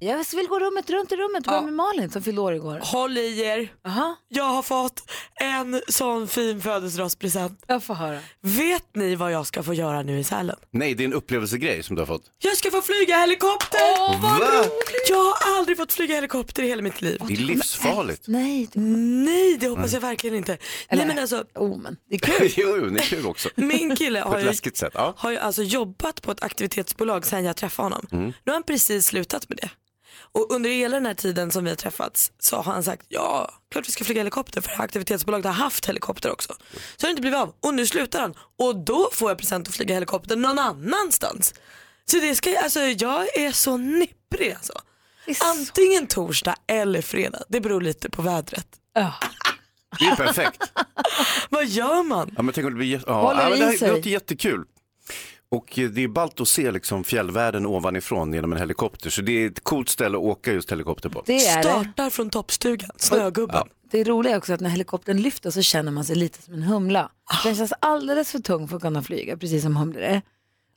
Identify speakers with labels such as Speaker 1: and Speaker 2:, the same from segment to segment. Speaker 1: Jag vill gå rummet runt i rummet och börja med Malin som fyllde år igår.
Speaker 2: Håll i er. Jag har fått en sån fin födelsedagspresent.
Speaker 1: Jag får höra.
Speaker 2: Vet ni vad jag ska få göra nu i Sälen?
Speaker 3: Nej, det är en upplevelsegrej som du har fått.
Speaker 2: Jag ska få flyga helikopter!
Speaker 3: vad Va? roligt!
Speaker 2: Jag har aldrig fått flyga helikopter i hela mitt liv.
Speaker 3: Det är livsfarligt.
Speaker 1: Nej,
Speaker 2: Nej, det hoppas jag verkligen inte.
Speaker 1: Eller-
Speaker 2: Nej, men alltså,
Speaker 1: oh, men.
Speaker 2: det är kul.
Speaker 3: jo, jo, det är kul också.
Speaker 2: Min kille
Speaker 3: På
Speaker 2: har
Speaker 3: ett
Speaker 2: ju,
Speaker 3: läskigt sätt. Ja.
Speaker 2: har ju alltså jobbat på ett aktivitetsbolag sedan jag träffade honom.
Speaker 3: Mm.
Speaker 2: Nu har han precis slutat med det. Och under hela den här tiden som vi har träffats så har han sagt ja, klart vi ska flyga helikopter för det här aktivitetsbolaget har haft helikopter också. Så har det inte blivit av och nu slutar han och då får jag present att flyga helikopter någon annanstans. Så det ska jag- alltså jag är så nipprig alltså. Antingen torsdag eller fredag, det beror lite på vädret.
Speaker 3: Det är perfekt.
Speaker 2: Vad gör man?
Speaker 3: Ja, men tänk om det blir jätte- ja,
Speaker 1: Håller
Speaker 3: ja, men det
Speaker 1: i
Speaker 3: här
Speaker 1: sig.
Speaker 3: låter jättekul. Och eh, det är ballt att se liksom fjällvärlden ovanifrån genom en helikopter. Så det är ett coolt ställe att åka just helikopter på.
Speaker 1: Det är det.
Speaker 2: Startar från toppstugan, snögubben.
Speaker 1: Det roliga är också att när helikoptern lyfter så känner man sig lite som en humla. Den känns alldeles för tung för att kunna flyga, precis som humlor är.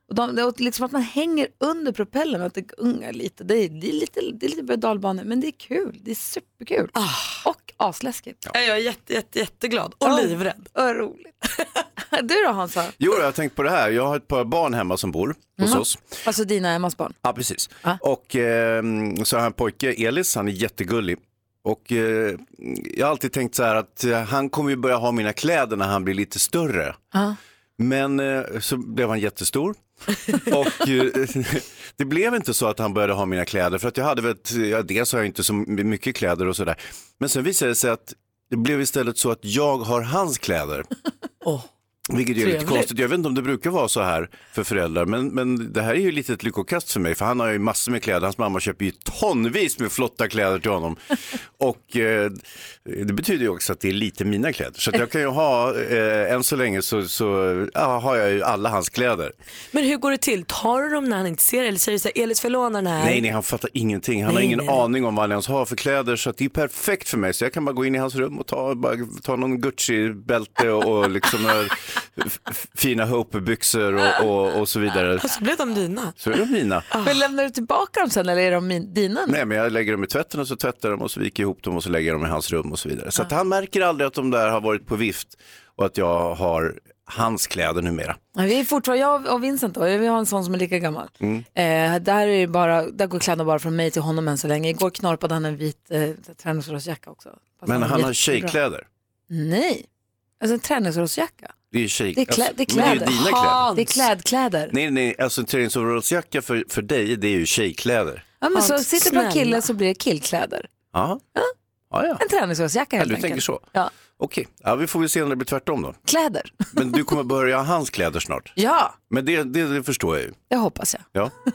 Speaker 1: Och de, det är liksom att man hänger under propellen och att det gungar lite. Det är, det är lite, det är lite berg men det är kul. Det är superkul.
Speaker 2: Ah.
Speaker 1: Och asläskigt.
Speaker 2: Ja. Jag är jätte, jätte, jätteglad och livrädd.
Speaker 1: Vad roligt. du då Hansa?
Speaker 3: Jo, jag har tänkt på det här. Jag har ett par barn hemma som bor hos oss.
Speaker 1: Alltså dina och Emmas barn.
Speaker 3: Ja, precis. Och ehm, så har jag en pojke, Elis, han är jättegullig. Och eh, jag har alltid tänkt så här att eh, han kommer ju börja ha mina kläder när han blir lite större. Men eh, så blev han jättestor. och eh, det blev inte så att han började ha mina kläder för att jag hade väl, ett- ja, dels har jag inte så mycket kläder och sådär. Men sen visade det sig att det blev istället så att jag har hans kläder.
Speaker 2: Åh.
Speaker 3: Vilket är lite
Speaker 2: Trevligt.
Speaker 3: konstigt. Jag vet inte om det brukar vara så här för föräldrar, men, men det här är ju lite ett lyckokast för mig, för han har ju massor med kläder. Hans mamma köper ju tonvis med flotta kläder till honom. Och eh, det betyder ju också att det är lite mina kläder. Så att jag kan ju ha, eh, än så länge så, så ja, har jag ju alla hans kläder.
Speaker 2: Men hur går det till? Tar du dem när han inte ser det? Eller säger du såhär, Elis förlåna den här?
Speaker 3: Nej, nej, han fattar ingenting. Han har
Speaker 2: Nej,
Speaker 3: ingen
Speaker 2: nej, nej.
Speaker 3: aning om vad han ens har för kläder, så att det är perfekt för mig. Så jag kan bara gå in i hans rum och ta, bara, ta någon Gucci-bälte och, och liksom några f- f- fina Hope-byxor och, och, och så vidare.
Speaker 2: Och så Alltså, blev de dina.
Speaker 3: Så är de mina.
Speaker 1: Men lämnar du tillbaka dem sen eller är de min, dina nu?
Speaker 3: Nej, men jag lägger dem i tvätten och så tvättar jag dem och så viker jag ihop dem och så lägger jag dem i hans rum och så vidare. Så att han märker aldrig att de där har varit på vift och att jag har hans kläder numera.
Speaker 1: Nej, Vi är fortfarande, jag och Vincent då, vi har en son som är lika gammal.
Speaker 3: Mm.
Speaker 1: Eh, där, är det bara, där går kläderna bara från mig till honom än så länge. Igår knorpade han en vit eh, träningsrosjacka också. Fast
Speaker 3: Men
Speaker 1: var
Speaker 3: han har
Speaker 1: jättebra.
Speaker 3: tjejkläder.
Speaker 1: Nej, alltså en tjejkläder.
Speaker 3: Det är, tjej... alltså,
Speaker 1: Det är, klä, det är
Speaker 3: Men
Speaker 1: kläder.
Speaker 3: det är ju dina kläder.
Speaker 1: Det är klädkläder.
Speaker 3: Nej, nej, alltså en träningsoverallsjacka för, för dig, det är ju tjejkläder.
Speaker 1: ja, men så
Speaker 2: Hans,
Speaker 1: sitter det på en kille
Speaker 2: snälla.
Speaker 1: så blir det killkläder.
Speaker 3: Ja, ja. ja.
Speaker 1: En träningsrosjacka
Speaker 3: ja
Speaker 1: helt
Speaker 3: du
Speaker 1: enkelt.
Speaker 3: tänker så.
Speaker 1: Ja,
Speaker 3: Okej, ja, vi får väl se när det blir tvärtom då.
Speaker 1: kläder.
Speaker 3: Men du kommer börja ha hans kläder snart.
Speaker 1: ja,
Speaker 3: Men det, det, det förstår jag ju.
Speaker 1: det hoppas jag.
Speaker 3: Ja.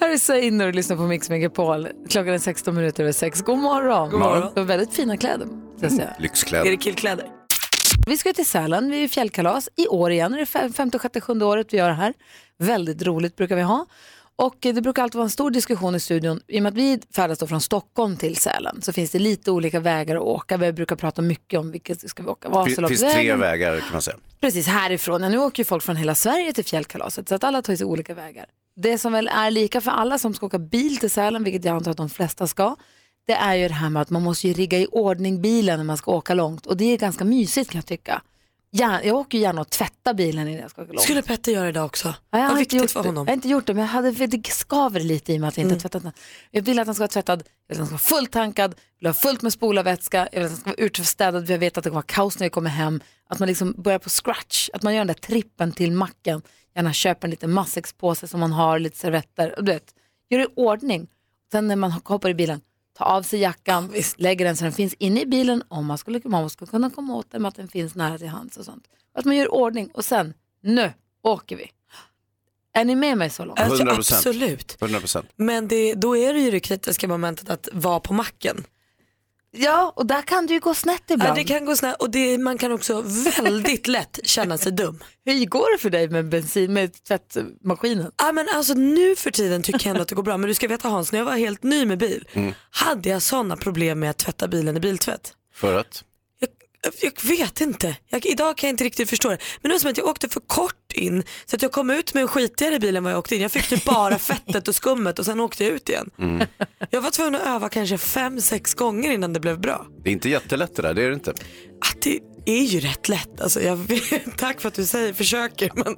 Speaker 1: Här är Zayn och du lyssnar på Mix Megapol. Klockan är 16 minuter över 6. God morgon. God
Speaker 3: morgon. Mm.
Speaker 1: Du har väldigt fina kläder. Ska jag säga.
Speaker 2: Är
Speaker 3: Lyxkläder.
Speaker 2: det killkläder?
Speaker 1: Vi ska till Sälen, vi är ju fjällkalas i år igen. Det är fem- femte, sjätte, sjunde året vi gör det här. Väldigt roligt brukar vi ha. Och eh, det brukar alltid vara en stor diskussion i studion. I och med att vi färdas då från Stockholm till Sälen så finns det lite olika vägar att åka. Vi brukar prata mycket om vilket ska vi åka.
Speaker 3: Det finns tre vägar kan man säga.
Speaker 1: Precis, härifrån. Ja, nu åker ju folk från hela Sverige till fjällkalaset så att alla tar sig olika vägar. Det som väl är lika för alla som ska åka bil till Sälen, vilket jag antar att de flesta ska, det är ju det här med att man måste ju rigga i ordning bilen när man ska åka långt och det är ganska mysigt kan jag tycka. Jag, jag åker ju gärna och tvättar bilen innan jag ska åka långt.
Speaker 2: Skulle Petter göra idag också?
Speaker 1: Ja, jag,
Speaker 2: Vad
Speaker 1: har inte
Speaker 2: viktigt
Speaker 1: gjort,
Speaker 2: för
Speaker 1: det.
Speaker 2: honom. Mm.
Speaker 1: jag har inte gjort det, men jag hade, det skaver lite i och med att jag inte har tvättat den. Jag vill att han ska vara tvättad, jag vill att han ska vara fullt tankad, jag vill ha fullt med spolarvätska, jag vill att han ska vara urstädad, för jag vet att det kommer vara kaos när vi kommer hem. Att man liksom börjar på scratch, att man gör den där trippen till macken, gärna köper en liten matsäckspåse som man har, lite servetter, och du vet, gör i ordning. Sen när man hoppar i bilen, ta av sig jackan, lägger den så den finns inne i bilen om man skulle, man skulle kunna komma åt den, med att den finns nära till hands och sånt. Att man gör i ordning och sen, nu åker vi. Är ni med mig så långt?
Speaker 2: Alltså,
Speaker 3: 100%.
Speaker 2: absolut.
Speaker 3: 100 procent.
Speaker 2: Men det, då är det ju det kritiska momentet att vara på macken.
Speaker 1: Ja, och där kan det ju gå snett
Speaker 2: Ja,
Speaker 1: ibland.
Speaker 2: det kan gå snett och det, man kan också väldigt lätt känna sig dum.
Speaker 1: Hur går det för dig med bensin, med tvättmaskinen?
Speaker 2: Ja, men alltså, nu för tiden tycker jag ändå att det går bra. Men du ska veta Hans, när jag var helt
Speaker 3: Mm.
Speaker 2: ny med bil hade jag sådana problem med att tvätta bilen i biltvätt.
Speaker 3: För att?
Speaker 2: Jag Jag vet inte. Jag, idag kan jag inte riktigt förstå det. Men det var som att jag åkte för kort in så att jag kom ut med en skitigare bil än vad jag åkte in. Jag fick typ bara fettet och skummet och sen åkte jag ut igen. Jag var tvungen att öva kanske fem, sex gånger innan det blev bra.
Speaker 3: Det är inte jättelätt det där, det är det inte.
Speaker 2: Att det är ju rätt lätt. Alltså, jag vet, tack för att du säger försöker. Men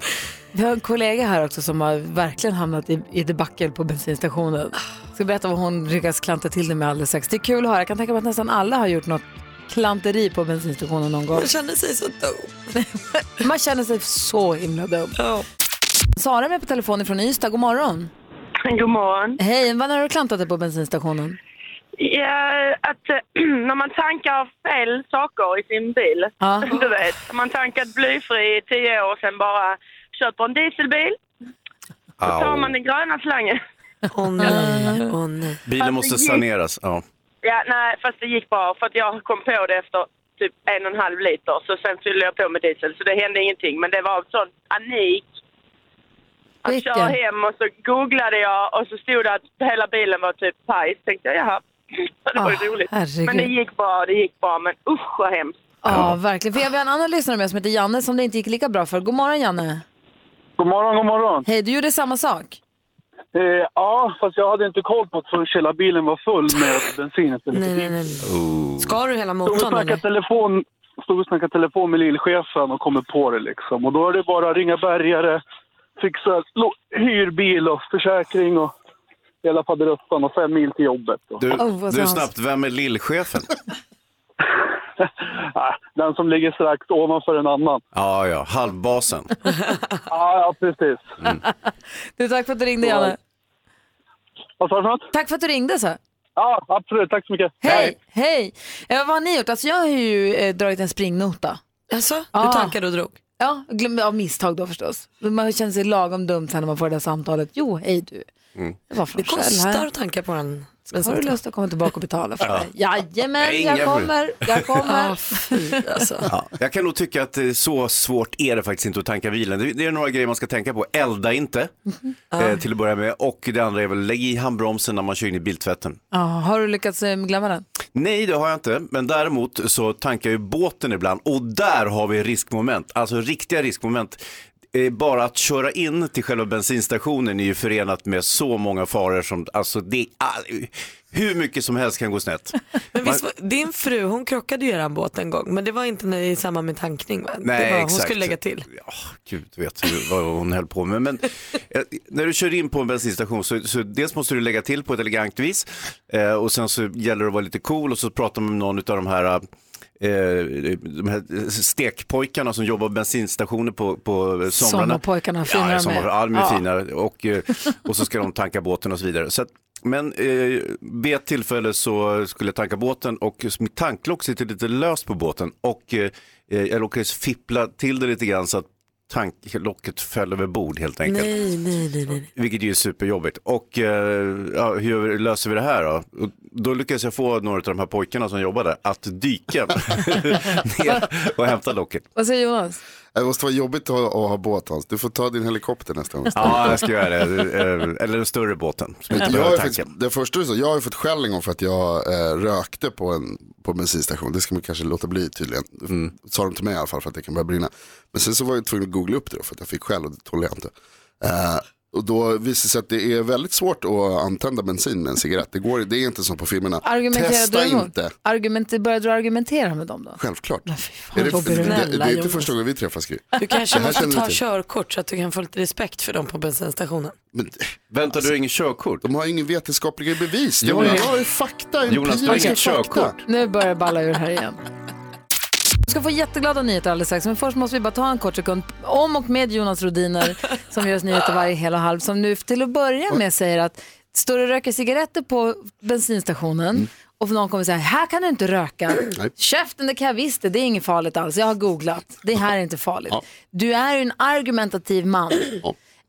Speaker 1: Vi har en kollega här också som har verkligen hamnat i, i debacle på bensinstationen. Ska berätta vad hon lyckas klanta till det med alldeles strax. Det är kul att höra. Jag kan tänka mig att nästan alla har gjort något klanteri på bensinstationen någon gång.
Speaker 2: man känner sig så dum.
Speaker 1: Man känner sig så himla dum.
Speaker 2: Ja.
Speaker 1: Sara är med på telefonen från Ystad. God morgon.
Speaker 4: God morgon.
Speaker 1: Hej, vad har du klantat dig på bensinstationen?
Speaker 4: Ja, att eh, när man tankar fel saker i sin bil,
Speaker 1: Ja.
Speaker 4: du vet. Man tankat blyfri i tio år sen bara köper en dieselbil, så tar man den gröna slangen.
Speaker 2: Åh nej, åh nej.
Speaker 3: Bilen måste saneras. Ja.
Speaker 4: Ja, nej, fast det gick bra för att jag kom på det efter typ en och en halv liter så sen fyllde jag på med diesel så det hände ingenting. Men det var en sån panik. Jag
Speaker 1: Vilken?
Speaker 4: kör hem och så googlade jag och så stod det att hela bilen var typ paj. Så tänkte jag, jaha. Det var
Speaker 1: Ah,
Speaker 4: ju roligt.
Speaker 1: herregud.
Speaker 4: Men det gick bra, det gick bra. Men usch vad hemskt.
Speaker 1: Ja, verkligen. För jag har en annan lyssnare med som heter Janne som det inte gick lika bra för. God morgon Janne.
Speaker 5: God morgon, god morgon.
Speaker 1: Hej, du gjorde samma sak.
Speaker 5: Eh, ja, fast jag hade inte koll på att först hela bilen var full med bensin.
Speaker 2: nej, nej, nej. Ska du hela
Speaker 5: Stod och
Speaker 2: motorn
Speaker 5: snackade
Speaker 2: eller?
Speaker 5: telefon, stod och snackade telefon med lillchefen och kommer på det liksom. Och då är det bara att ringa bärgare, fixa lo- hyrbil och försäkring och hela faderuttan och fem mil till jobbet. Och,
Speaker 3: Du,
Speaker 1: Oh, vad
Speaker 3: du
Speaker 1: sa
Speaker 3: snabbt, vem är lillchefen?
Speaker 5: Ah, den som ligger strax ovanför en annan.
Speaker 3: ja, ja, halvbasen.
Speaker 5: Ja, ja precis.
Speaker 1: Du, tack för att du ringde Janne.
Speaker 5: Vad sa du för något?
Speaker 1: Tack för att du ringde så.
Speaker 5: Ja, absolut. Tack så mycket.
Speaker 1: Hej! Hej! Eh, vad har ni gjort? Alltså jag har ju eh, dragit en springnota.
Speaker 2: Alltså,
Speaker 1: Ah.
Speaker 2: du tankade och drog?
Speaker 1: Ja, glöm, av misstag då förstås. Men Man känner sig lagom dum sen när man får det där samtalet. Jo, hej du. Det var från
Speaker 2: Det
Speaker 1: Shell
Speaker 2: kostar
Speaker 1: här.
Speaker 2: att tanka på den.
Speaker 1: Har du lust att komma tillbaka och betala för det? Jajamän, jag
Speaker 3: Inga
Speaker 1: kommer. Jag
Speaker 2: Ja,
Speaker 1: kommer.
Speaker 2: fy alltså.
Speaker 3: Ja. Jag kan nog tycka att eh, så svårt är det faktiskt inte att tanka bilen. Det- Det är några grejer man ska tänka på. Elda inte, eh, till att börja med. Och det andra är väl, lägg i handbromsen när man kör in i biltvätten.
Speaker 1: Ja, har du lyckats eh, glömma den?
Speaker 3: Nej, det har jag inte. Men däremot så tankar jag ju båten ibland och där har vi riskmoment, alltså riktiga riskmoment. Eh, Bara att köra in till själva bensinstationen är ju förenat med så många faror som, alltså det, ah, hur mycket som helst kan gå snett.
Speaker 2: Men visst, var- din fru hon krockade ju i eran båt en gång men det var inte när, i samband med tankning va? det
Speaker 3: Nej,
Speaker 2: var,
Speaker 3: exakt.
Speaker 2: Hon skulle lägga till.
Speaker 3: Ja, gud vet hur, vad hon höll på med. Men eh, när du kör in på en bensinstation så, så dels måste du lägga till på ett elegant vis eh, och sen så gäller det att vara lite cool och så pratar man med någon av de här eh, de här stekpojkarna som jobbar på bensinstationer på, på somrarna.
Speaker 1: Sommarpojkarna, fina de
Speaker 3: ja,
Speaker 1: är.
Speaker 3: sommar, ja, de är
Speaker 1: Ja.
Speaker 3: fina. Och, eh, och så ska de tanka båten och så vidare. Så att, men eh, vid ett tillfälle så skulle jag tanka båten och mitt tanklock sitter lite löst på båten och eh, jag lyckades fippla till det lite grann så att tanklocket föll över bord helt enkelt.
Speaker 2: Nej, nej, nej, nej.
Speaker 3: Vilket ju är superjobbigt. Och eh, ja, hur löser vi det här då? Och då lyckades jag få några av de här pojkarna som jobbade att dyka ner och hämta locket.
Speaker 1: Vad säger Jonas?
Speaker 6: Det måste vara jobbigt att ha, att ha båt Hans. Du får ta din helikopter nästa gång.
Speaker 3: Ja, jag ska göra det. Eh, Eller den större båten. som inte
Speaker 6: Jag,
Speaker 3: behöver
Speaker 6: har
Speaker 3: tanka.
Speaker 6: faktiskt, det första du sa, jag har ju fått skäll en gång för att jag eh, rökte på en, på en bensinstation. Det ska man kanske låta bli tydligen. Sa de till mig i alla fall för att det kan börja brinna. Men sen så var jag tvungen att googla upp det då, för att jag fick skäll och det tål jag inte. Eh, och då visade det sig att det är väldigt svårt att antända bensin med en cigarett. Det, går, det är inte som på filmerna. Testa
Speaker 1: Argumenterar du emot?
Speaker 6: inte.
Speaker 1: Argument, började du argumentera med dem då?
Speaker 6: Självklart.
Speaker 1: Fy fan,
Speaker 6: Är det,
Speaker 1: vad
Speaker 6: det, det, det
Speaker 1: snälla,
Speaker 6: är inte
Speaker 1: Jonas.
Speaker 6: första gången vi träffas Gry.
Speaker 2: Du kanske
Speaker 6: Det här
Speaker 2: måste
Speaker 6: känner vi
Speaker 2: ta
Speaker 6: till.
Speaker 2: körkort så att du kan få lite respekt för dem på bensinstationen.
Speaker 6: Men
Speaker 3: Väntar du har ingen körkort?
Speaker 6: de har ingen vetenskapliga bevis.
Speaker 3: Jo,
Speaker 6: Jag,
Speaker 3: nej.
Speaker 6: jag har ju fakta,
Speaker 3: Jonas, du har
Speaker 6: empiriska
Speaker 3: inget
Speaker 6: fakta.
Speaker 3: körkort.
Speaker 1: Nu börjar jag balla ur här igen. Du ska få jätteglada nyheter alldeles strax, men först måste vi bara ta en kort sekund om och med Jonas Rodiner som gör oss nyheter varje hel och halv, som nu till att börja med säger att står du och röker cigaretter på bensinstationen och någon kommer säga här kan du inte röka, käften det kan jag visst det, det är inget farligt alls, jag har googlat, det här är inte farligt. Du är ju en argumentativ man.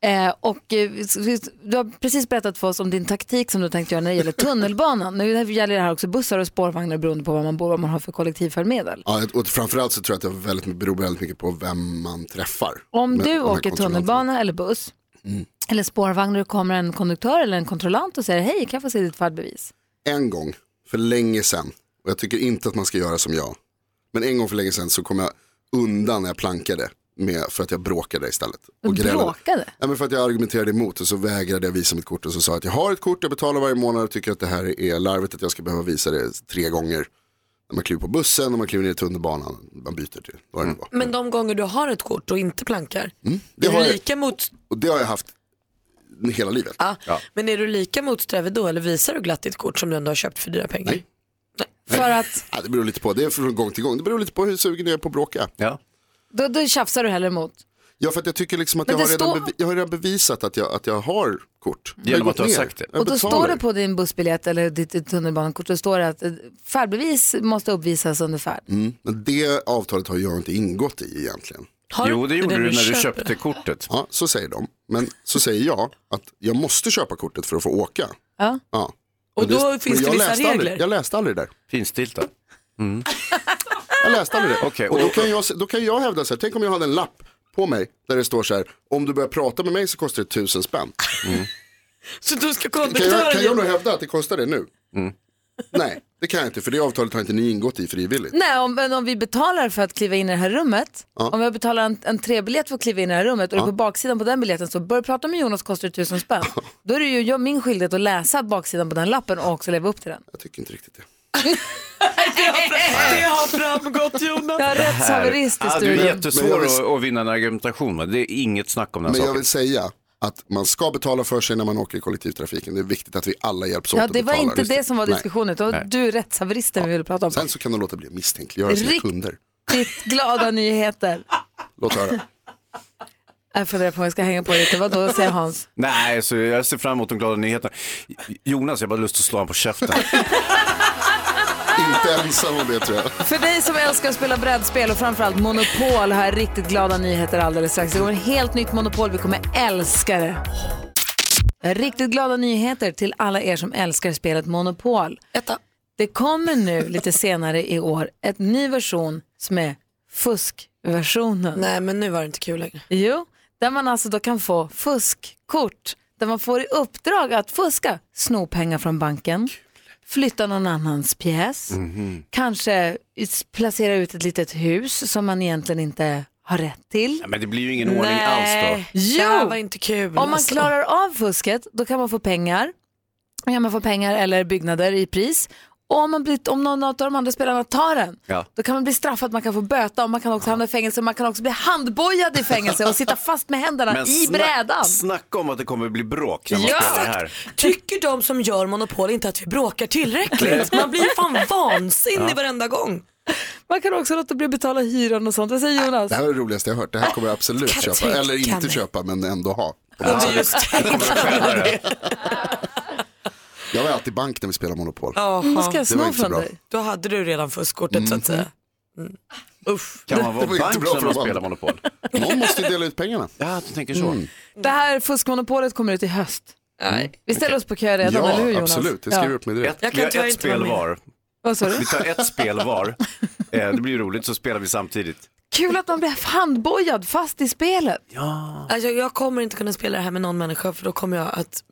Speaker 1: Eh, och eh, s- s- du har precis berättat för oss om din taktik som du tänkte göra när det gäller tunnelbanan. Nu gäller det här också bussar och spårvagnar beroende på var man bor, vad man har för kollektivfärdmedel.
Speaker 6: Ja, och framförallt så tror jag att det väldigt, beror väldigt mycket på vem man träffar.
Speaker 1: Om
Speaker 6: Med-
Speaker 1: du
Speaker 6: med
Speaker 1: åker
Speaker 6: kontrollanterna.
Speaker 1: tunnelbana eller buss
Speaker 6: Mm.
Speaker 1: eller spårvagn och det kommer en konduktör eller en kontrollant och säger hej, kan jag få se ditt färdbevis?
Speaker 6: En gång, för länge sedan, och jag tycker inte att man ska göra som jag, Men en gång för länge sedan så kom jag undan när jag plankade med, för att jag bråkade istället. Och grälade.
Speaker 1: Bråkade?
Speaker 6: Ja, men för att jag argumenterade emot och så vägrade jag visa mitt kort och så sa jag att jag har ett kort, jag betalar varje månad och tycker att det här är larvigt att jag ska behöva visa det tre gånger. När man kliver på bussen, när man kliver ner i tunnelbanan, man byter till vad det nu var.
Speaker 2: Men de gånger du har ett kort och inte plankar,
Speaker 6: Mm,
Speaker 1: Mm.
Speaker 6: Det
Speaker 2: är
Speaker 6: har
Speaker 2: du
Speaker 6: jag,
Speaker 2: lika mot...
Speaker 6: och det har jag haft hela livet.
Speaker 2: Ja. Men är du lika motsträvig då eller visar du glatt ditt kort som du ändå har köpt för dyra pengar?
Speaker 6: Nej.
Speaker 1: För att
Speaker 6: Ja, det beror lite på, det är från gång till gång. Det beror lite på hur sugen jag är på att bråka.
Speaker 3: Ja.
Speaker 1: då, då tjafsar du hellre emot.
Speaker 6: Ja, för att jag tycker liksom att
Speaker 1: Men
Speaker 6: jag har,
Speaker 1: det
Speaker 6: redan
Speaker 1: står-
Speaker 6: bevi- jag har redan bevisat att jag, att jag har kort. Jag
Speaker 3: Genom
Speaker 6: gått
Speaker 3: att du har
Speaker 6: ner.
Speaker 3: sagt det.
Speaker 6: Jag
Speaker 1: Och då
Speaker 6: betalar.
Speaker 1: står det på din bussbiljett eller ditt ditt tunnelbanekort, då står det att eh, färdbevis måste uppvisas under färd.
Speaker 6: Mm. Men det avtalet har jag inte ingått i egentligen.
Speaker 2: Har
Speaker 3: Jo, det gjorde du när du
Speaker 2: köper?
Speaker 3: köpte kortet.
Speaker 6: Ja, så säger de. Men så säger jag att jag måste köpa kortet för att få åka.
Speaker 1: Ja.
Speaker 6: Ja.
Speaker 2: Och
Speaker 6: Men
Speaker 2: då
Speaker 6: men
Speaker 2: finns det
Speaker 6: jag
Speaker 2: vissa
Speaker 6: läste aldrig-
Speaker 2: regler.
Speaker 6: Jag läste aldrig det där.
Speaker 3: Finstilta.
Speaker 6: Jag läste aldrig det.
Speaker 3: Ah. Okej,
Speaker 6: och då,
Speaker 3: och-
Speaker 6: kan jag, då kan jag hävda så här, tänk om jag hade en lapp på mig där det står så här, om du börjar prata med mig så kostar det tusen spänn.
Speaker 2: Så du ska
Speaker 6: Kan jag,
Speaker 2: konduktören...
Speaker 6: kan jag då
Speaker 2: ge-
Speaker 6: hävda att det kostar det nu?
Speaker 7: Mm.
Speaker 6: Nej, det kan jag inte för det avtalet har inte ni ingått i frivilligt.
Speaker 1: Nej, om, men om vi betalar för att kliva in i det här rummet,
Speaker 6: Ja.
Speaker 1: om jag betalar en, en trebiljett för att kliva in i det här rummet och det på baksidan på den biljetten så börjar prata med Jonas kostar det tusen spänn. Då är det ju jag, min skyldighet att läsa baksidan på den lappen och också leva upp till den.
Speaker 6: Jag tycker inte riktigt det.
Speaker 2: Det har framgått Jonas.
Speaker 1: Jag är rättshaverist i
Speaker 3: Ah, du är
Speaker 1: studion.
Speaker 6: Men jag
Speaker 3: jättesvår
Speaker 6: vill-
Speaker 3: att, att vinna en argumentation med. Det är inget snack om den
Speaker 6: Men jag
Speaker 3: saken.
Speaker 6: vill säga att man ska betala för sig när man åker i kollektivtrafiken. Det är viktigt att vi alla hjälps åt
Speaker 1: Ja,
Speaker 6: att
Speaker 1: det var
Speaker 6: betala,
Speaker 1: inte
Speaker 6: just
Speaker 1: det som var
Speaker 6: Nej.
Speaker 1: diskussionen, utan du är rättshaveristen vi ville prata om.
Speaker 6: Sen så kan de låta bli att misstänkliggöra sina
Speaker 1: Rikt-
Speaker 6: kunder.
Speaker 1: Ditt glada nyheter.
Speaker 6: Låt höra.
Speaker 1: Jag funderar på om jag ska hänga på lite, vadå säger Hans?
Speaker 3: Nej, så jag ser fram emot de glada nyheterna. Jonas, jag har bara lust att slå honom på käften.
Speaker 6: inte ensam om det tror jag.
Speaker 1: För dig som älskar att spela brädspel och framförallt Monopol har jag riktigt glada nyheter alldeles strax. Det kommer ett helt nytt Monopol, vi kommer älska det. Riktigt glada nyheter till alla er som älskar spelet Monopol.
Speaker 2: Etta.
Speaker 1: Det kommer nu lite senare i år ett ny version som är fuskversionen.
Speaker 2: Nej men nu var det inte kul längre.
Speaker 1: Jo, där man alltså då kan få fuskkort. Där man får i uppdrag att fuska, sno pengar från banken, flytta någon annans pjäs,
Speaker 2: Mhm.
Speaker 1: kanske is- placera ut ett litet hus som man egentligen inte har rätt till.
Speaker 3: Nej, Men det blir ju ingen ordning alls då.
Speaker 2: det här
Speaker 1: Jo!
Speaker 2: var inte kul.
Speaker 1: Om man
Speaker 2: alltså.
Speaker 1: klarar av fusket, då kan man få pengar. Då kan man få pengar eller byggnader i pris. Och om, man blir, om någon av de andra spelarna tar den,
Speaker 3: Ja.
Speaker 1: då kan man bli straffad, man kan få böta och man kan också hamna i fängelse. Man kan också bli handbojad i fängelse och sitta fast med händerna
Speaker 3: Men
Speaker 1: i
Speaker 3: sna-
Speaker 1: brädan.
Speaker 3: Snacka om att det kommer bli bråk när man
Speaker 1: Ja!
Speaker 3: spelar det här.
Speaker 2: Tycker de som gör monopol inte att vi bråkar tillräckligt? Man blir ju fan vansinnig varenda gång.
Speaker 1: Man kan också låta bli att betala hyran och sånt. Vad säger Jonas?
Speaker 6: Det här var det roligaste jag hört. Det här kommer jag absolut
Speaker 2: Kan
Speaker 6: köpa.
Speaker 2: tänka
Speaker 6: Eller inte
Speaker 2: mig.
Speaker 6: köpa men ändå ha.
Speaker 2: Och det är just
Speaker 6: Jag var alltid bank när vi spelade Monopol.
Speaker 1: Vad ska
Speaker 2: Jaha,
Speaker 1: jag
Speaker 6: det var
Speaker 1: sno
Speaker 6: inte så
Speaker 1: från
Speaker 6: bra.
Speaker 1: dig?
Speaker 2: då hade du redan fuskkortet så att säga. Mm.
Speaker 3: Mm-hmm.
Speaker 2: Usch.
Speaker 3: Kan man vara
Speaker 6: Det var
Speaker 3: bank
Speaker 6: inte bra
Speaker 3: när
Speaker 6: för
Speaker 3: man
Speaker 6: de andra.
Speaker 3: spelar Monopol?
Speaker 6: Någon måste ju dela ut pengarna.
Speaker 3: Ja, du tänker så.
Speaker 6: Mm.
Speaker 1: Det här fuskmonopolet kommer ut i höst. Vi ställer oss på kö redan,
Speaker 6: Ja,
Speaker 1: eller hur Jonas?
Speaker 6: absolut. Jag skriver upp mig direkt.
Speaker 3: Ett,
Speaker 2: Jag kan
Speaker 3: vi har
Speaker 2: tyvärr
Speaker 3: ett
Speaker 2: inte vara
Speaker 3: spel
Speaker 2: med.
Speaker 3: var.
Speaker 1: Vad sa du?
Speaker 3: Vi tar ett spel var. Eh, Det blir roligt, så spelar vi samtidigt.
Speaker 1: Kul att man blir handbojad fast i spelet.
Speaker 2: Alltså, jag kommer inte kunna spela det här med någon människa för då kommer jag att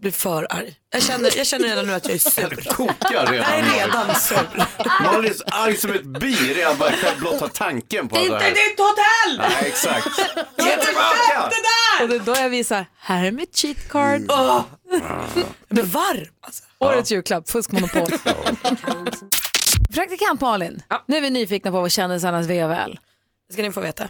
Speaker 2: bli för arg. Jag känner, jag känner redan nu att jag är sur.
Speaker 3: Kokar
Speaker 2: Jag
Speaker 3: redan.
Speaker 2: är
Speaker 3: Malin.
Speaker 2: redan sur.
Speaker 3: Malin är så liksom arg som ett bi redan bara själv blotta tanken på det här.
Speaker 2: ditt hotell!
Speaker 3: Nej, exakt. Ge tillbaka!
Speaker 1: Och det är då jag visar, här är mitt cheat card.
Speaker 6: Mm.
Speaker 2: Åh. Jag blir varm. Alltså.
Speaker 1: Årets julklapp, fuskmonopol. Praktikant Malin, nu är vi nyfikna på vad kändisarnas VVL.
Speaker 2: Det ska ni få veta.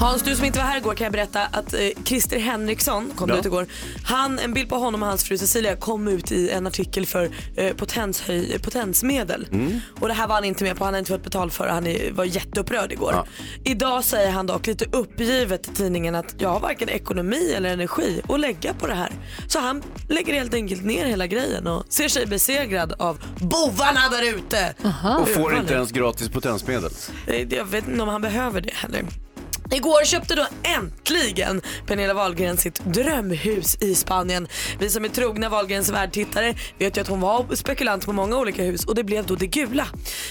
Speaker 2: Hans, du som inte var här igår kan jag berätta att eh, Christer Henriksson kom ut igår. Han, en bild på honom och hans fru Cecilia kom ut i en artikel för eh, potenshöj, potensmedel.
Speaker 3: Mm.
Speaker 2: Och det här var han inte med på, han har inte fått betalt för det. Han är, var jätteupprörd igår. Idag säger han dock lite uppgivet till tidningen att jag har varken ekonomi eller energi att lägga på det här. Så han lägger helt enkelt ner hela grejen och ser sig besegrad av bovarna där ute.
Speaker 3: Och får inte ens gratis potensmedel.
Speaker 2: Eh, Jag vet inte om han behöver det heller. Igår köpte då äntligen Pernilla Wahlgren sitt drömhus i Spanien. Vi som är trogna Wahlgrens världtittare vet ju att hon var spekulant på många olika hus och det blev då det gula.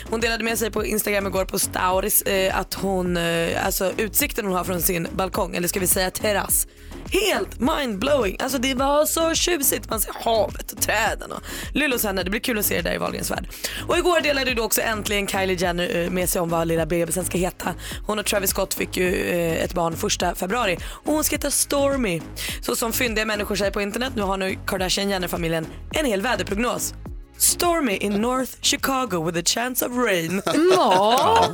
Speaker 2: Hon delade med sig på Instagram igår på Stauris eh, att hon, eh, alltså utsikten hon har från sin balkong, eller ska vi säga terrass, Helt mindblowing. Alltså det var så tjusigt. Man ser havet och träden och Lulus henne. Det blir kul att se det där i Wahlgrens värld. Och igår delade ju då också äntligen Kylie Jenner eh, med sig om vad lilla bebisen ska heta. Hon och Travis Scott fick ju eh, ett barn första februari och hon ska heta Stormy. Så som fyndiga människor säger på internet, nu har nu Kardashian Jenner-familjen en hel väderprognos. Stormy in North Chicago with a chance of rain.
Speaker 1: Ja.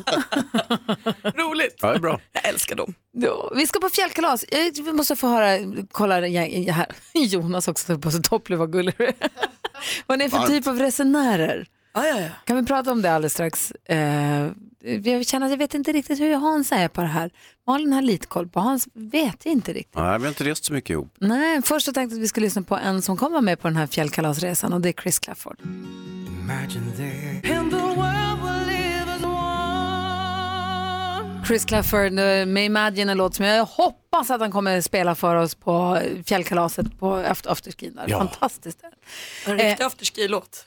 Speaker 2: Roligt.
Speaker 3: Ja, det är bra.
Speaker 2: Jag älskar dem.
Speaker 1: Ja, Vi ska på fjällkalas. Jag- Vi måste få höra, kolla jag- jag- här. Jonas också tog på sig toppluva, vad gullig du är. Vad ni är för
Speaker 6: Varmt.
Speaker 1: typ av resenärer.
Speaker 2: Ja, ja, ja.
Speaker 1: Kan vi prata om det alldeles strax? Eh, jag känner att jag vet inte riktigt hur Hans är på det här. Malin har lite koll på Hans, vet jag inte riktigt.
Speaker 3: Nej, vi har inte rest så mycket ihop.
Speaker 1: Nej, först så tänkte jag att vi skulle lyssna på en som kommer med på den här fjällkalasresan och det är Chris Clafford. Chris Clafford eh, med Imagine, en låt som jag hoppas att han kommer spela för oss på fjällkalaset på efter- afterskin. där.
Speaker 3: Ja.
Speaker 1: Fantastiskt.
Speaker 2: En riktig afterski-låt.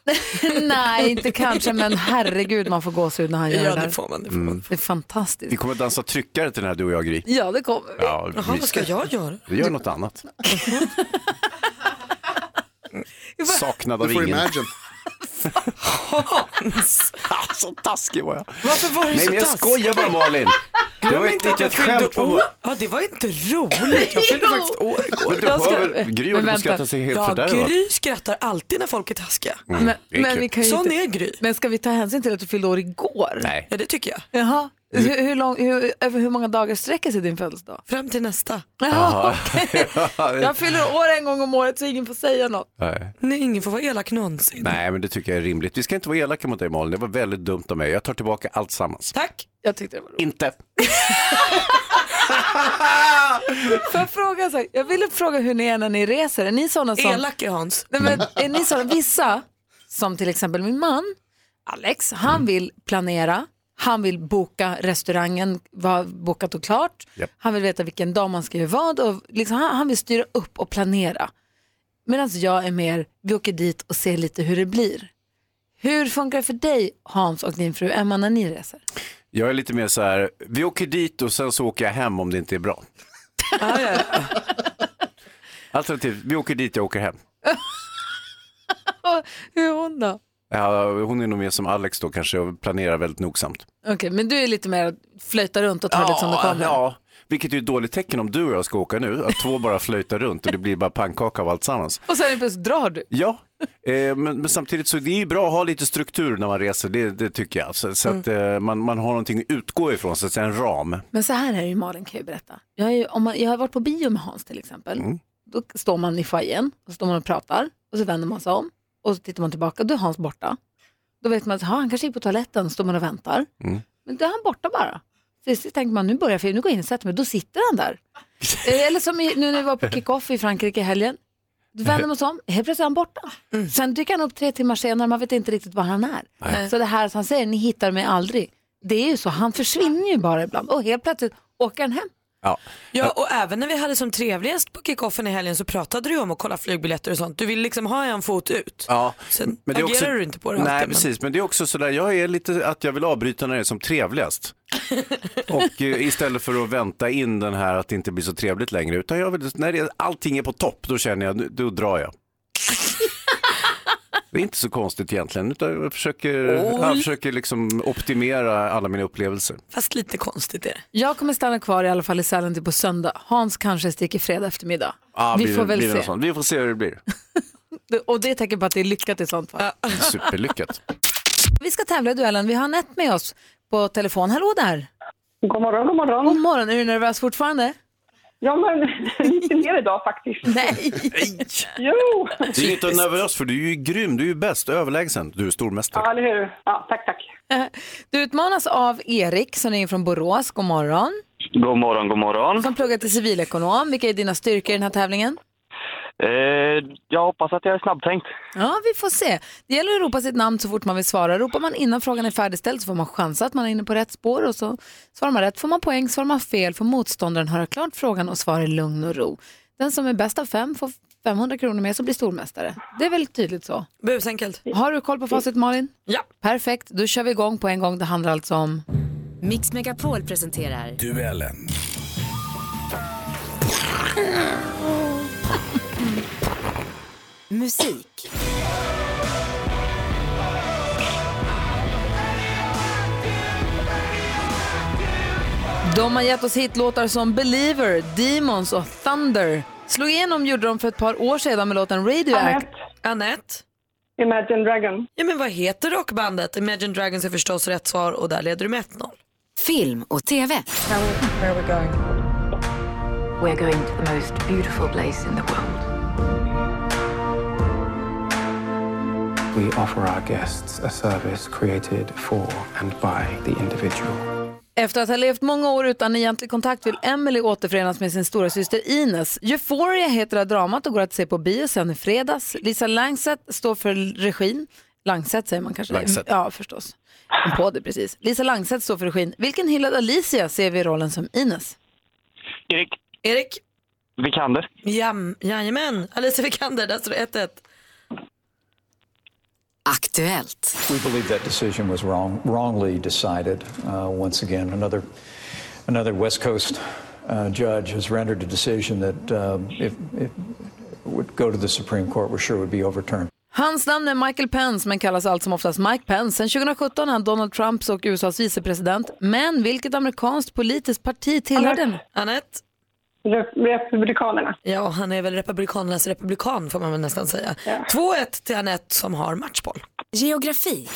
Speaker 1: Nej, inte kanske, men herregud man får gåshud när han gör
Speaker 2: Ja,
Speaker 1: det
Speaker 2: det
Speaker 1: där.
Speaker 2: får man. Det får man.
Speaker 1: Det är
Speaker 3: Vi
Speaker 1: fantastiskt.
Speaker 3: kommer att dansa tryckare till den här du och jag, Gry.
Speaker 1: Ja, det kommer vi.
Speaker 3: Ja,
Speaker 2: Jaha, vad ska jag göra?
Speaker 3: Vi gör något annat. Saknad av
Speaker 6: Du får
Speaker 3: ingen.
Speaker 6: imagine.
Speaker 2: Hans!
Speaker 3: Ah, så taskig var jag.
Speaker 2: Varför var du
Speaker 3: Nej,
Speaker 2: så
Speaker 3: men jag
Speaker 2: taskig?
Speaker 3: skojar bara Malin. Det var ett
Speaker 2: inte att jag
Speaker 3: litet
Speaker 2: fyllde
Speaker 3: skämt på...
Speaker 2: år. Ja, det var inte roligt. Jag fyllde
Speaker 1: Jo.
Speaker 2: faktiskt år
Speaker 3: Men
Speaker 2: igår.
Speaker 3: du
Speaker 1: Jag ska-
Speaker 3: hör väl, Gry
Speaker 1: Men
Speaker 3: håller på
Speaker 1: vänta.
Speaker 3: att skratta sig helt
Speaker 2: Ja,
Speaker 3: fördärvad. Mm.
Speaker 2: Gry skrattar alltid när folk är taskiga.
Speaker 1: Men,
Speaker 3: det är
Speaker 1: men,
Speaker 3: kul.
Speaker 1: vi kan ju
Speaker 2: Sån
Speaker 1: inte...
Speaker 2: är Gry.
Speaker 1: men ska vi ta hänsyn till att du fyllde år igår?
Speaker 3: Nej.
Speaker 2: Ja, det tycker jag.
Speaker 1: Jaha. Hur, hur lång, hur, över hur många dagar sträcker sig din födelsedag?
Speaker 2: Fram till nästa.
Speaker 1: Jaha, okej. Jag fyller år en gång om året så ingen får säga något.
Speaker 3: Nej.
Speaker 2: Nej, ingen får vara elak någonsin.
Speaker 3: Nej, men det tycker jag är rimligt. Vi ska inte vara elaka mot dig Malin. Det var väldigt dumt av mig. Jag tar tillbaka allt sammans.
Speaker 2: Tack.
Speaker 1: Jag tyckte det var roligt.
Speaker 3: Inte.
Speaker 1: Får jag fråga en sak? Jag ville fråga hur ni är när ni reser. Är ni sådana som...
Speaker 2: Elak är Hans.
Speaker 1: Nej, men, är ni sådana, vissa, som till exempel min man, Alex, han vill planera, han vill boka restaurangen, var bokat och klart.
Speaker 3: Japp.
Speaker 1: Han vill veta vilken dag man ska göra vad och liksom, han, han vill styra upp och planera. Medan jag är mer, vi åker dit och ser lite hur det blir. Hur funkar det för dig, Hans och din fru Emma, när ni reser?
Speaker 3: Jag är lite mer så här, vi åker dit och sen så åker jag hem om det inte är bra. Alternativt, vi åker dit, jag åker hem.
Speaker 1: Hur är hon då?
Speaker 3: Ja, hon är nog mer som Alex då kanske och planerar väldigt nogsamt.
Speaker 1: Okej, men du är lite mer att flöjta runt och ta det som det kommer.
Speaker 3: ja. Vilket är ett dåligt tecken om du och jag ska åka nu, att två bara flöjtar runt och det blir bara pannkaka av allt sammans.
Speaker 1: Och sen plötsligt drar du.
Speaker 3: Ja, eh, men, men samtidigt så det är ju bra att ha lite struktur när man reser, det, det tycker jag. Så,
Speaker 2: Mm.
Speaker 3: så att eh, man, man har någonting att utgå ifrån, så att säga en ram.
Speaker 1: Men så här är det ju Malin kan jag ju berätta. Jag, är ju, om man, jag har varit på bio med Hans till exempel. Då står man i foajén och så står man och pratar och så vänder man sig om och så tittar man tillbaka då är Hans borta. Då vet man att "Ha, han kanske gick på toaletten, står man och väntar. Men då är han borta bara. Så så tänker man nu börjar filmen, nu går jag in och sätter mig, då sitter han där. Eh, Eller som i, nu när vi var på kick-off i Frankrike i helgen. Då vänder man sig om, helt plötsligt är han borta. Sen dyker han upp tre timmar senare, man vet inte riktigt var han är. Så det här som han säger, ni hittar mig aldrig. Det är ju så, han försvinner ju bara ibland och helt plötsligt åker han hem.
Speaker 3: Ja.
Speaker 2: Ja, och även när vi hade som trevligast på kickoffen i helgen så pratade du ju om att kolla flygbiljetter och sånt. Du vill liksom ha en fot ut.
Speaker 3: Ja,
Speaker 2: Sen agerar du inte på det
Speaker 3: Nej,
Speaker 2: alltid, men-
Speaker 3: precis, men det är också sådär, jag är lite att jag vill avbryta när det är som trevligast. Och eh, istället för att vänta in den här att det inte blir så trevligt längre, utan jag vill, när det, allting är på topp, då känner jag, nu- då drar jag. Det är inte så konstigt egentligen, utan jag försöker, jag försöker liksom optimera alla mina upplevelser.
Speaker 2: Fast lite konstigt är det.
Speaker 1: Jag kommer stanna kvar i alla fall i Sälen till på söndag. Hans kanske sticker fredag eftermiddag.
Speaker 3: Ah,
Speaker 1: vi
Speaker 3: blir
Speaker 1: får
Speaker 3: det-
Speaker 1: väl
Speaker 3: blir det något
Speaker 1: se.
Speaker 3: sånt? Vi får se hur det blir.
Speaker 1: Och det är tecken på att det är lyckat i sånt fall.
Speaker 3: Superlyckat.
Speaker 1: Vi ska tävla i duellen. Vi har Anette med oss på telefon. Hallå där!
Speaker 8: God morgon, god morgon.
Speaker 1: God morgon, är du nervös fortfarande?
Speaker 8: Ja, men lite mer idag faktiskt.
Speaker 1: Nej!
Speaker 8: Jo!
Speaker 3: Du är inte nervös för du är ju grym, du är ju bäst, överlägsen, du är stormästare.
Speaker 8: Ja, eller hur? Ja, tack, tack.
Speaker 1: Du utmanas av Erik som ringer från Borås. God morgon.
Speaker 9: God morgon, god morgon.
Speaker 1: Som pluggar till civilekonom. Vilka är dina styrkor i den här tävlingen?
Speaker 9: Eh, jag hoppas att jag är snabbtänkt.
Speaker 1: Ja, vi får se. Det gäller att ropa sitt namn så fort man vill svara. Ropar man innan frågan är färdigställd så får man chansa att man är inne på rätt spår och så svarar man rätt får man poäng, svarar man fel får motståndaren höra klart frågan och svara i lugn och ro. Den som är bäst av fem får 500 kronor mer så blir stormästare. Det är väl tydligt så.
Speaker 2: Busenkelt.
Speaker 1: Har du koll på facit Malin?
Speaker 2: Ja.
Speaker 1: Perfekt, då kör vi igång på en gång. Det handlar alltså om...
Speaker 10: Mix Megapol presenterar Musik.
Speaker 1: De har gett oss hitlåtar som Believer, Demons och Thunder. Slog igenom gjorde de för ett par år sedan med låten Radioact.
Speaker 8: Annette,
Speaker 2: Annette,
Speaker 8: Imagine Dragon.
Speaker 2: ja men vad heter rockbandet? Imagine Dragons är förstås rätt svar och där leder du med 1-0.
Speaker 10: Film och TV.
Speaker 11: We're going to the most beautiful place in the world.
Speaker 12: We offer our guests a service created for and by the individual.
Speaker 1: Efter att ha levt många år utan egentlig kontakt vill Emily återförenas med sin stora syster Ines. Euphoria heter det här dramat och går att se på bio sen i fredags. Lisa Langset står för regin. Langset säger man kanske?
Speaker 3: Langset.
Speaker 1: Ja, förstås. Kom på det precis. Lisa Langset står för regin. Vilken hyllad Alicia ser vi i rollen som Ines?
Speaker 9: Erik
Speaker 2: Erik?
Speaker 9: Vikander.
Speaker 2: Jam, jajamän, Alicia Vikander, där står det 1-1.
Speaker 10: Aktuellt.
Speaker 12: We believe that decision was wrong, wrongly decided. Uh, once again, another, another West Coast uh, judge has rendered a decision that um, if it would go to the Supreme Court, we're sure would be overturned.
Speaker 1: Hans namn är Michael Pence men kallas allt som oftast Mike Pence. Sen 2017 är han Donald Trumps och USAs vicepresident. Men vilket amerikanskt politiskt parti tillhör den?
Speaker 2: Annette?
Speaker 8: Re- Republikanerna.
Speaker 2: Ja, han är väl republikanernas republikan får man väl nästan säga. 2-1 till Annette som har matchboll.
Speaker 10: Geografi.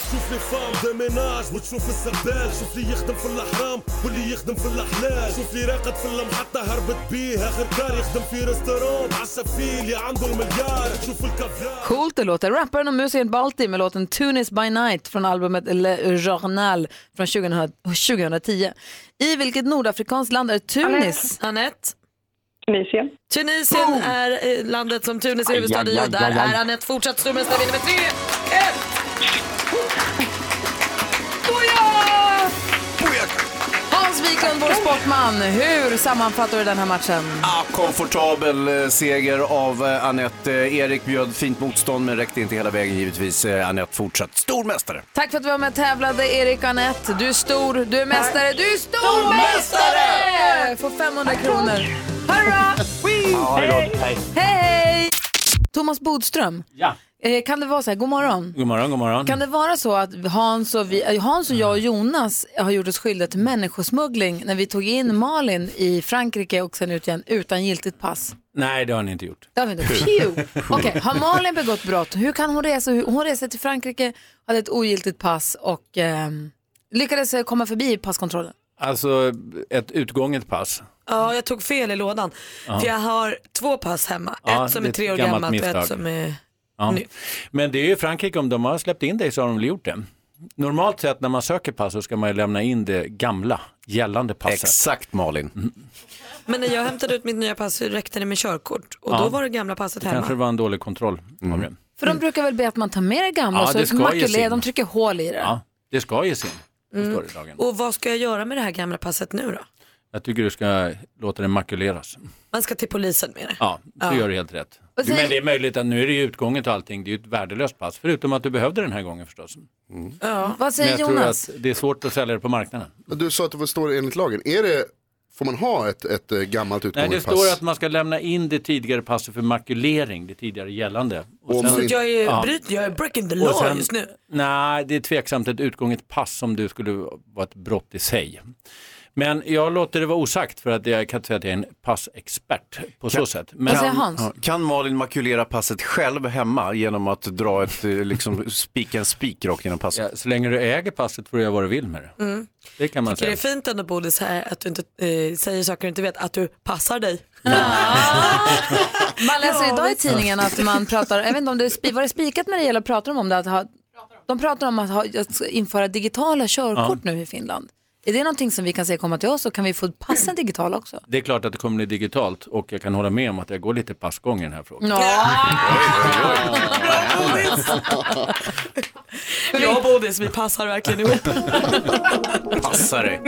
Speaker 1: Coolt det låter. Rapparen och musikern Balti med låten Tunis by night från albumet Le Journal från 2000 2010. I vilket nordafrikanskt land är Tunis?
Speaker 2: Annette?
Speaker 8: Tunisien.
Speaker 2: Tunisien
Speaker 7: Oh!
Speaker 2: är eh, landet som Tunis är huvudstad i och där är Annette fortsatt stormästare vinner med 3-1!
Speaker 1: Boja!
Speaker 3: Oh
Speaker 1: Hans Wiklund, vår sportman, hur sammanfattar du den här matchen?
Speaker 3: Ah, komfortabel eh, seger av eh, Anette. Eh, Erik bjöd fint motstånd men räckte inte hela vägen givetvis. Eh, Anette fortsatt stormästare.
Speaker 1: Tack för att du var med och tävlade, Erik och Anette. Du är stor, du är mästare, du är stormästare! Får 500 kronor. Hurra!
Speaker 9: Ha det gott. Hej.
Speaker 1: Hej! Thomas Bodström, eh, kan det vara så här, god morgon?
Speaker 7: God morgon, god morgon.
Speaker 1: Kan det vara så att Hans och, vi, eh, Hans och jag och Jonas har gjort oss skyldiga till människosmuggling när vi tog in Malin i Frankrike och sen ut igen utan giltigt pass?
Speaker 7: Nej, det har ni inte gjort.
Speaker 1: Det har vi inte. Pew! Okej, har Malin begått brott? Hur kan hon resa? Hur- Hon reser till Frankrike, hade ett ogiltigt pass och ehm, lyckades eh, komma förbi passkontrollen.
Speaker 7: Alltså, ett utgånget pass.
Speaker 2: Ja, jag tog fel i lådan. För jag har två pass hemma.
Speaker 7: Ja,
Speaker 2: ett som
Speaker 7: det
Speaker 2: är
Speaker 7: är
Speaker 2: tre år
Speaker 7: ett gammalt
Speaker 2: gammalt och ett
Speaker 7: misstag.
Speaker 2: som är...
Speaker 7: Ja.
Speaker 2: Nu.
Speaker 7: Men det är ju Frankrike, om de har släppt in dig så har de väl gjort det. Normalt sett när man söker pass så ska man ju lämna in det gamla, gällande passet.
Speaker 3: Exakt Malin.
Speaker 2: Men när jag hämtade ut mitt nya pass så räckte det med körkort. Och då var det gamla passet hemma.
Speaker 7: Kanske det var en dålig kontroll. av det.
Speaker 1: För de brukar väl be att man tar med det gamla
Speaker 7: Mm. Ja,
Speaker 1: så
Speaker 7: det ska ges
Speaker 1: makulé,
Speaker 7: in.
Speaker 1: de trycker hål i det.
Speaker 7: Ja, det ska ges in. Det står i lagen.
Speaker 2: Och vad ska jag göra med det här gamla passet nu då?
Speaker 7: Jag tycker du ska låta det makuleras.
Speaker 2: Man ska till polisen med det.
Speaker 7: Ja, du gör du helt rätt.
Speaker 1: Och sen-
Speaker 7: Men det är möjligt att nu är det ju utgånget och allting. Det är ju ett värdelöst pass, förutom att du behövde den här gången förstås.
Speaker 1: Vad
Speaker 7: Men
Speaker 1: säger
Speaker 7: jag tror
Speaker 1: Jonas?
Speaker 7: att det är svårt att sälja det på marknaden.
Speaker 6: Men Du sa att det var- står enligt lagen. Är det, får man ha ett, ett eh, gammalt
Speaker 7: Nej, det
Speaker 6: utgånget pass?
Speaker 7: står att man ska lämna in det tidigare passet för makulering, det tidigare gällande. Och
Speaker 6: Om
Speaker 2: Så
Speaker 6: man
Speaker 2: att
Speaker 6: inte-
Speaker 2: jag är,
Speaker 7: Ja.
Speaker 2: bryt, jag är breaking the law
Speaker 7: sen-
Speaker 2: just nu.
Speaker 7: Nej, det är tveksamt ett utgånget pass om du skulle vara ett brott i sig. Men jag låter det vara osagt för att jag kan inte säga att jag är en passexpert på så sätt. Men,
Speaker 1: Vad säger Hans?
Speaker 3: Ja, Kan Malin makulera passet själv hemma genom att dra ett, eh, liksom, spika en spik rakt genom passet?
Speaker 7: Ja, så länge du äger passet får du göra vad du vill med det. Det kan man
Speaker 2: Tycker det är
Speaker 7: säga.
Speaker 2: fint ändå Bodis här att du inte eh, säger saker du inte vet, att du passar dig.
Speaker 1: Man läser idag i tidningen att man pratar, jag vet inte om det är spi- var det spikat när det gäller, pratar de om det? Att ha, de pratar om att, ha, att införa digitala körkort nu i Finland. Är det någonting som vi kan se komma till oss och kan vi få passen digitala också?
Speaker 7: Det är klart att det kommer bli digitalt och jag kan hålla med om att jag går lite passgång i den här frågan.
Speaker 2: Jag och Bodis, vi passar verkligen ihop.
Speaker 3: Passa dig.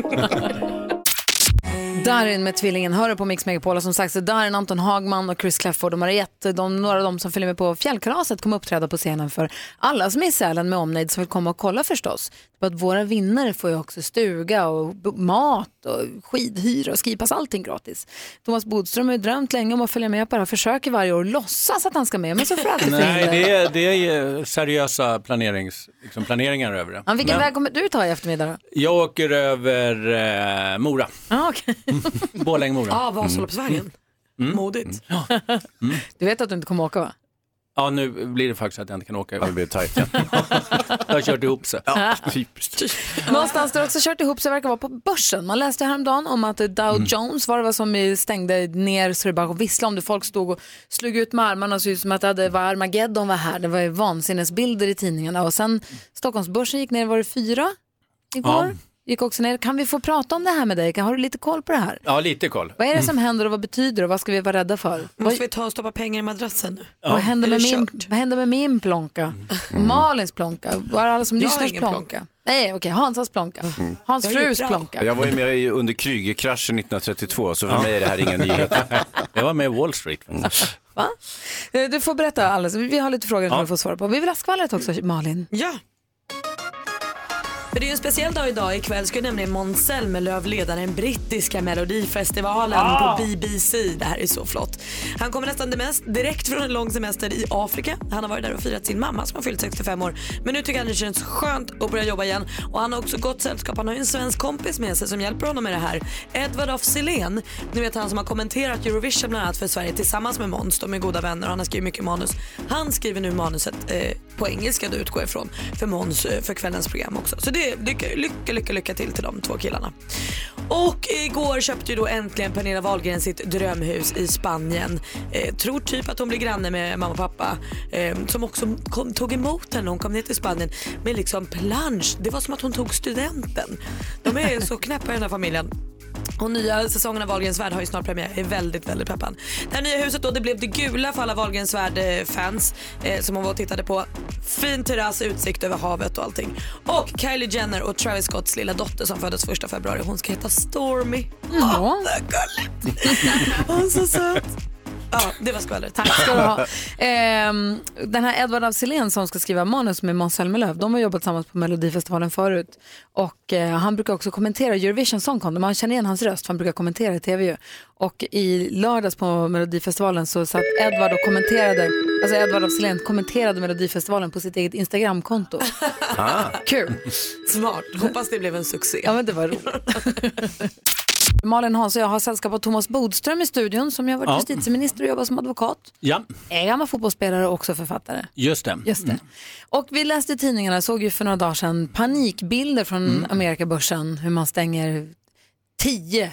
Speaker 1: Darin med tvillingen hör du på Mix Megapol och som sagt så Darin, Anton Hagman och Chris Clafford och Mariette, de, några av dem som följer med på fjällkalaset kommer uppträda på scenen för alla som är i Sälen med omnejd som vill komma och kolla förstås. på att våra vinnare får ju också stuga och b- mat och skidhyra och skipass, allting gratis. Thomas Bodström har ju drömt länge om att följa med på det här, försöker varje år och låtsas att han ska med, men så får han alltid
Speaker 7: Nej,
Speaker 1: förhinder.
Speaker 7: det är, det är seriösa planerings, liksom planeringar över det.
Speaker 1: Ja, vilken
Speaker 7: Men
Speaker 1: väg kommer du ta i eftermiddag då?
Speaker 7: Jag åker över eh, Mora,
Speaker 1: Ah, okay.
Speaker 7: Borlänge-Mora.
Speaker 1: Ja, Vasaloppsvägen.
Speaker 7: Mm.
Speaker 2: Modigt.
Speaker 1: Du vet att du inte kommer åka va?
Speaker 7: Ja, nu blir det faktiskt att jag inte kan åka. Det blir tajt. jag har kört ihop sig.
Speaker 1: Ja,
Speaker 7: typiskt.
Speaker 1: Någonstans där det också kört ihop sig verkar vara på börsen. Man läste häromdagen om att Dow
Speaker 7: Mm.
Speaker 1: Jones var det vad som stängde ner så det bara visslade om det. Folk stod och slog ut med armarna och såg ut som att det hade- var Armageddon var här. Det var ju vansinnesbilder i tidningarna. Och sen Stockholmsbörsen gick ner, var det fyra igår?
Speaker 7: Ja.
Speaker 1: Gick också ner. Kan vi få prata om det här med dig? Har du lite koll på det här?
Speaker 7: Ja, Mm. lite koll.
Speaker 1: Vad är det som händer och vad betyder det och vad ska vi vara rädda för? Vad,
Speaker 2: Måste vi ta och stoppa pengar i madrassen nu?
Speaker 1: vad, händer, med
Speaker 2: Mm. Eller
Speaker 1: min, vad händer med min plånka?
Speaker 7: Mm.
Speaker 1: Malins plånka? Var alla som
Speaker 2: Jag har
Speaker 1: lyssnars
Speaker 2: ingen
Speaker 1: plånka? Nej, okej, Hansas plånka.
Speaker 7: Mm.
Speaker 1: Hans
Speaker 2: Jag är
Speaker 1: frus
Speaker 2: bra.
Speaker 1: plånka.
Speaker 3: Jag var ju med i- under Krügerkraschen 1932 så för
Speaker 7: Ja.
Speaker 3: mig är det här ingen nyhet.
Speaker 7: Jag var med i Wall Street.
Speaker 1: Va? Eh, Du får berätta alldeles. Vi har lite frågor som du får svara på. Vi vill ha skvallret också, Malin.
Speaker 2: Ja. För det är ju en speciell dag idag. Ikväll ska ju nämligen Måns Zelmerlöw leda den brittiska melodifestivalen
Speaker 13: Ah!
Speaker 2: på BBC. Det här är så flott. Han kommer nästan det mest direkt från en lång semester i Afrika. Han har varit där och firat sin mamma som har fyllt 65 år. Men nu tycker han det känns skönt att börja jobba igen. Och han har också gott sällskap. Han har ju en svensk kompis med sig som hjälper honom med det här. Edvard af Sillén. Ni vet han som har kommenterat Eurovision bland annat för Sverige tillsammans med Måns. De är goda vänner och han har skrivit mycket manus. Han skriver nu manuset eh, på engelska då utgår jag ifrån för Måns eh, för kvällens program också. Så det lycka, lycka, lycka, lycka till till de två killarna. Och igår köpte ju då äntligen Pernilla Wahlgren sitt drömhus i Spanien. Eh, tror typ att hon blir granne med mamma och pappa eh, som också kom, tog emot henne när hon kom ner till Spanien med liksom plansch. Det var som att hon tog studenten. De är så knäppa i den här familjen. Och nya säsongen av Wahlgrens värld har ju snart premiär. Jag är väldigt, väldigt peppad. Det här nya huset då, det blev det gula för alla Wahlgrens värld-fans eh, som hon var och tittade på. Fin terrass, utsikt över havet och allting. Och Kylie Jenner och Travis Scotts lilla dotter som föddes 1 februari, hon ska heta Stormy. Åh, vad gulligt! Hon är så söt. Ja, det var skvallret.
Speaker 1: Tack ska du ha. Ehm, den här Edvard af Sillén som ska skriva manus med Måns Zelmerlöw, de har jobbat tillsammans på Melodifestivalen förut. Och eh, han brukar också kommentera Eurovision Song Contest, man känner igen hans röst för han brukar kommentera i tv ju. Och i lördags på Melodifestivalen så satt Edvard och kommenterade, alltså Edvard af Sillén kommenterade Melodifestivalen på sitt eget Instagramkonto. Kul.
Speaker 2: Smart. Hoppas det blev en succé.
Speaker 1: Ja men det var roligt. Malin Hans och jag har sällskap av Thomas Bodström i studion som jag har varit
Speaker 7: Ja.
Speaker 1: justitieminister och jobbat som advokat.
Speaker 7: Ja,
Speaker 1: Är gammal fotbollsspelare och också författare.
Speaker 7: just det.
Speaker 1: Just det. Och vi läste i tidningarna, såg ju för några dagar sedan panikbilder från
Speaker 7: Mm.
Speaker 1: Amerikabörsen hur man stänger tio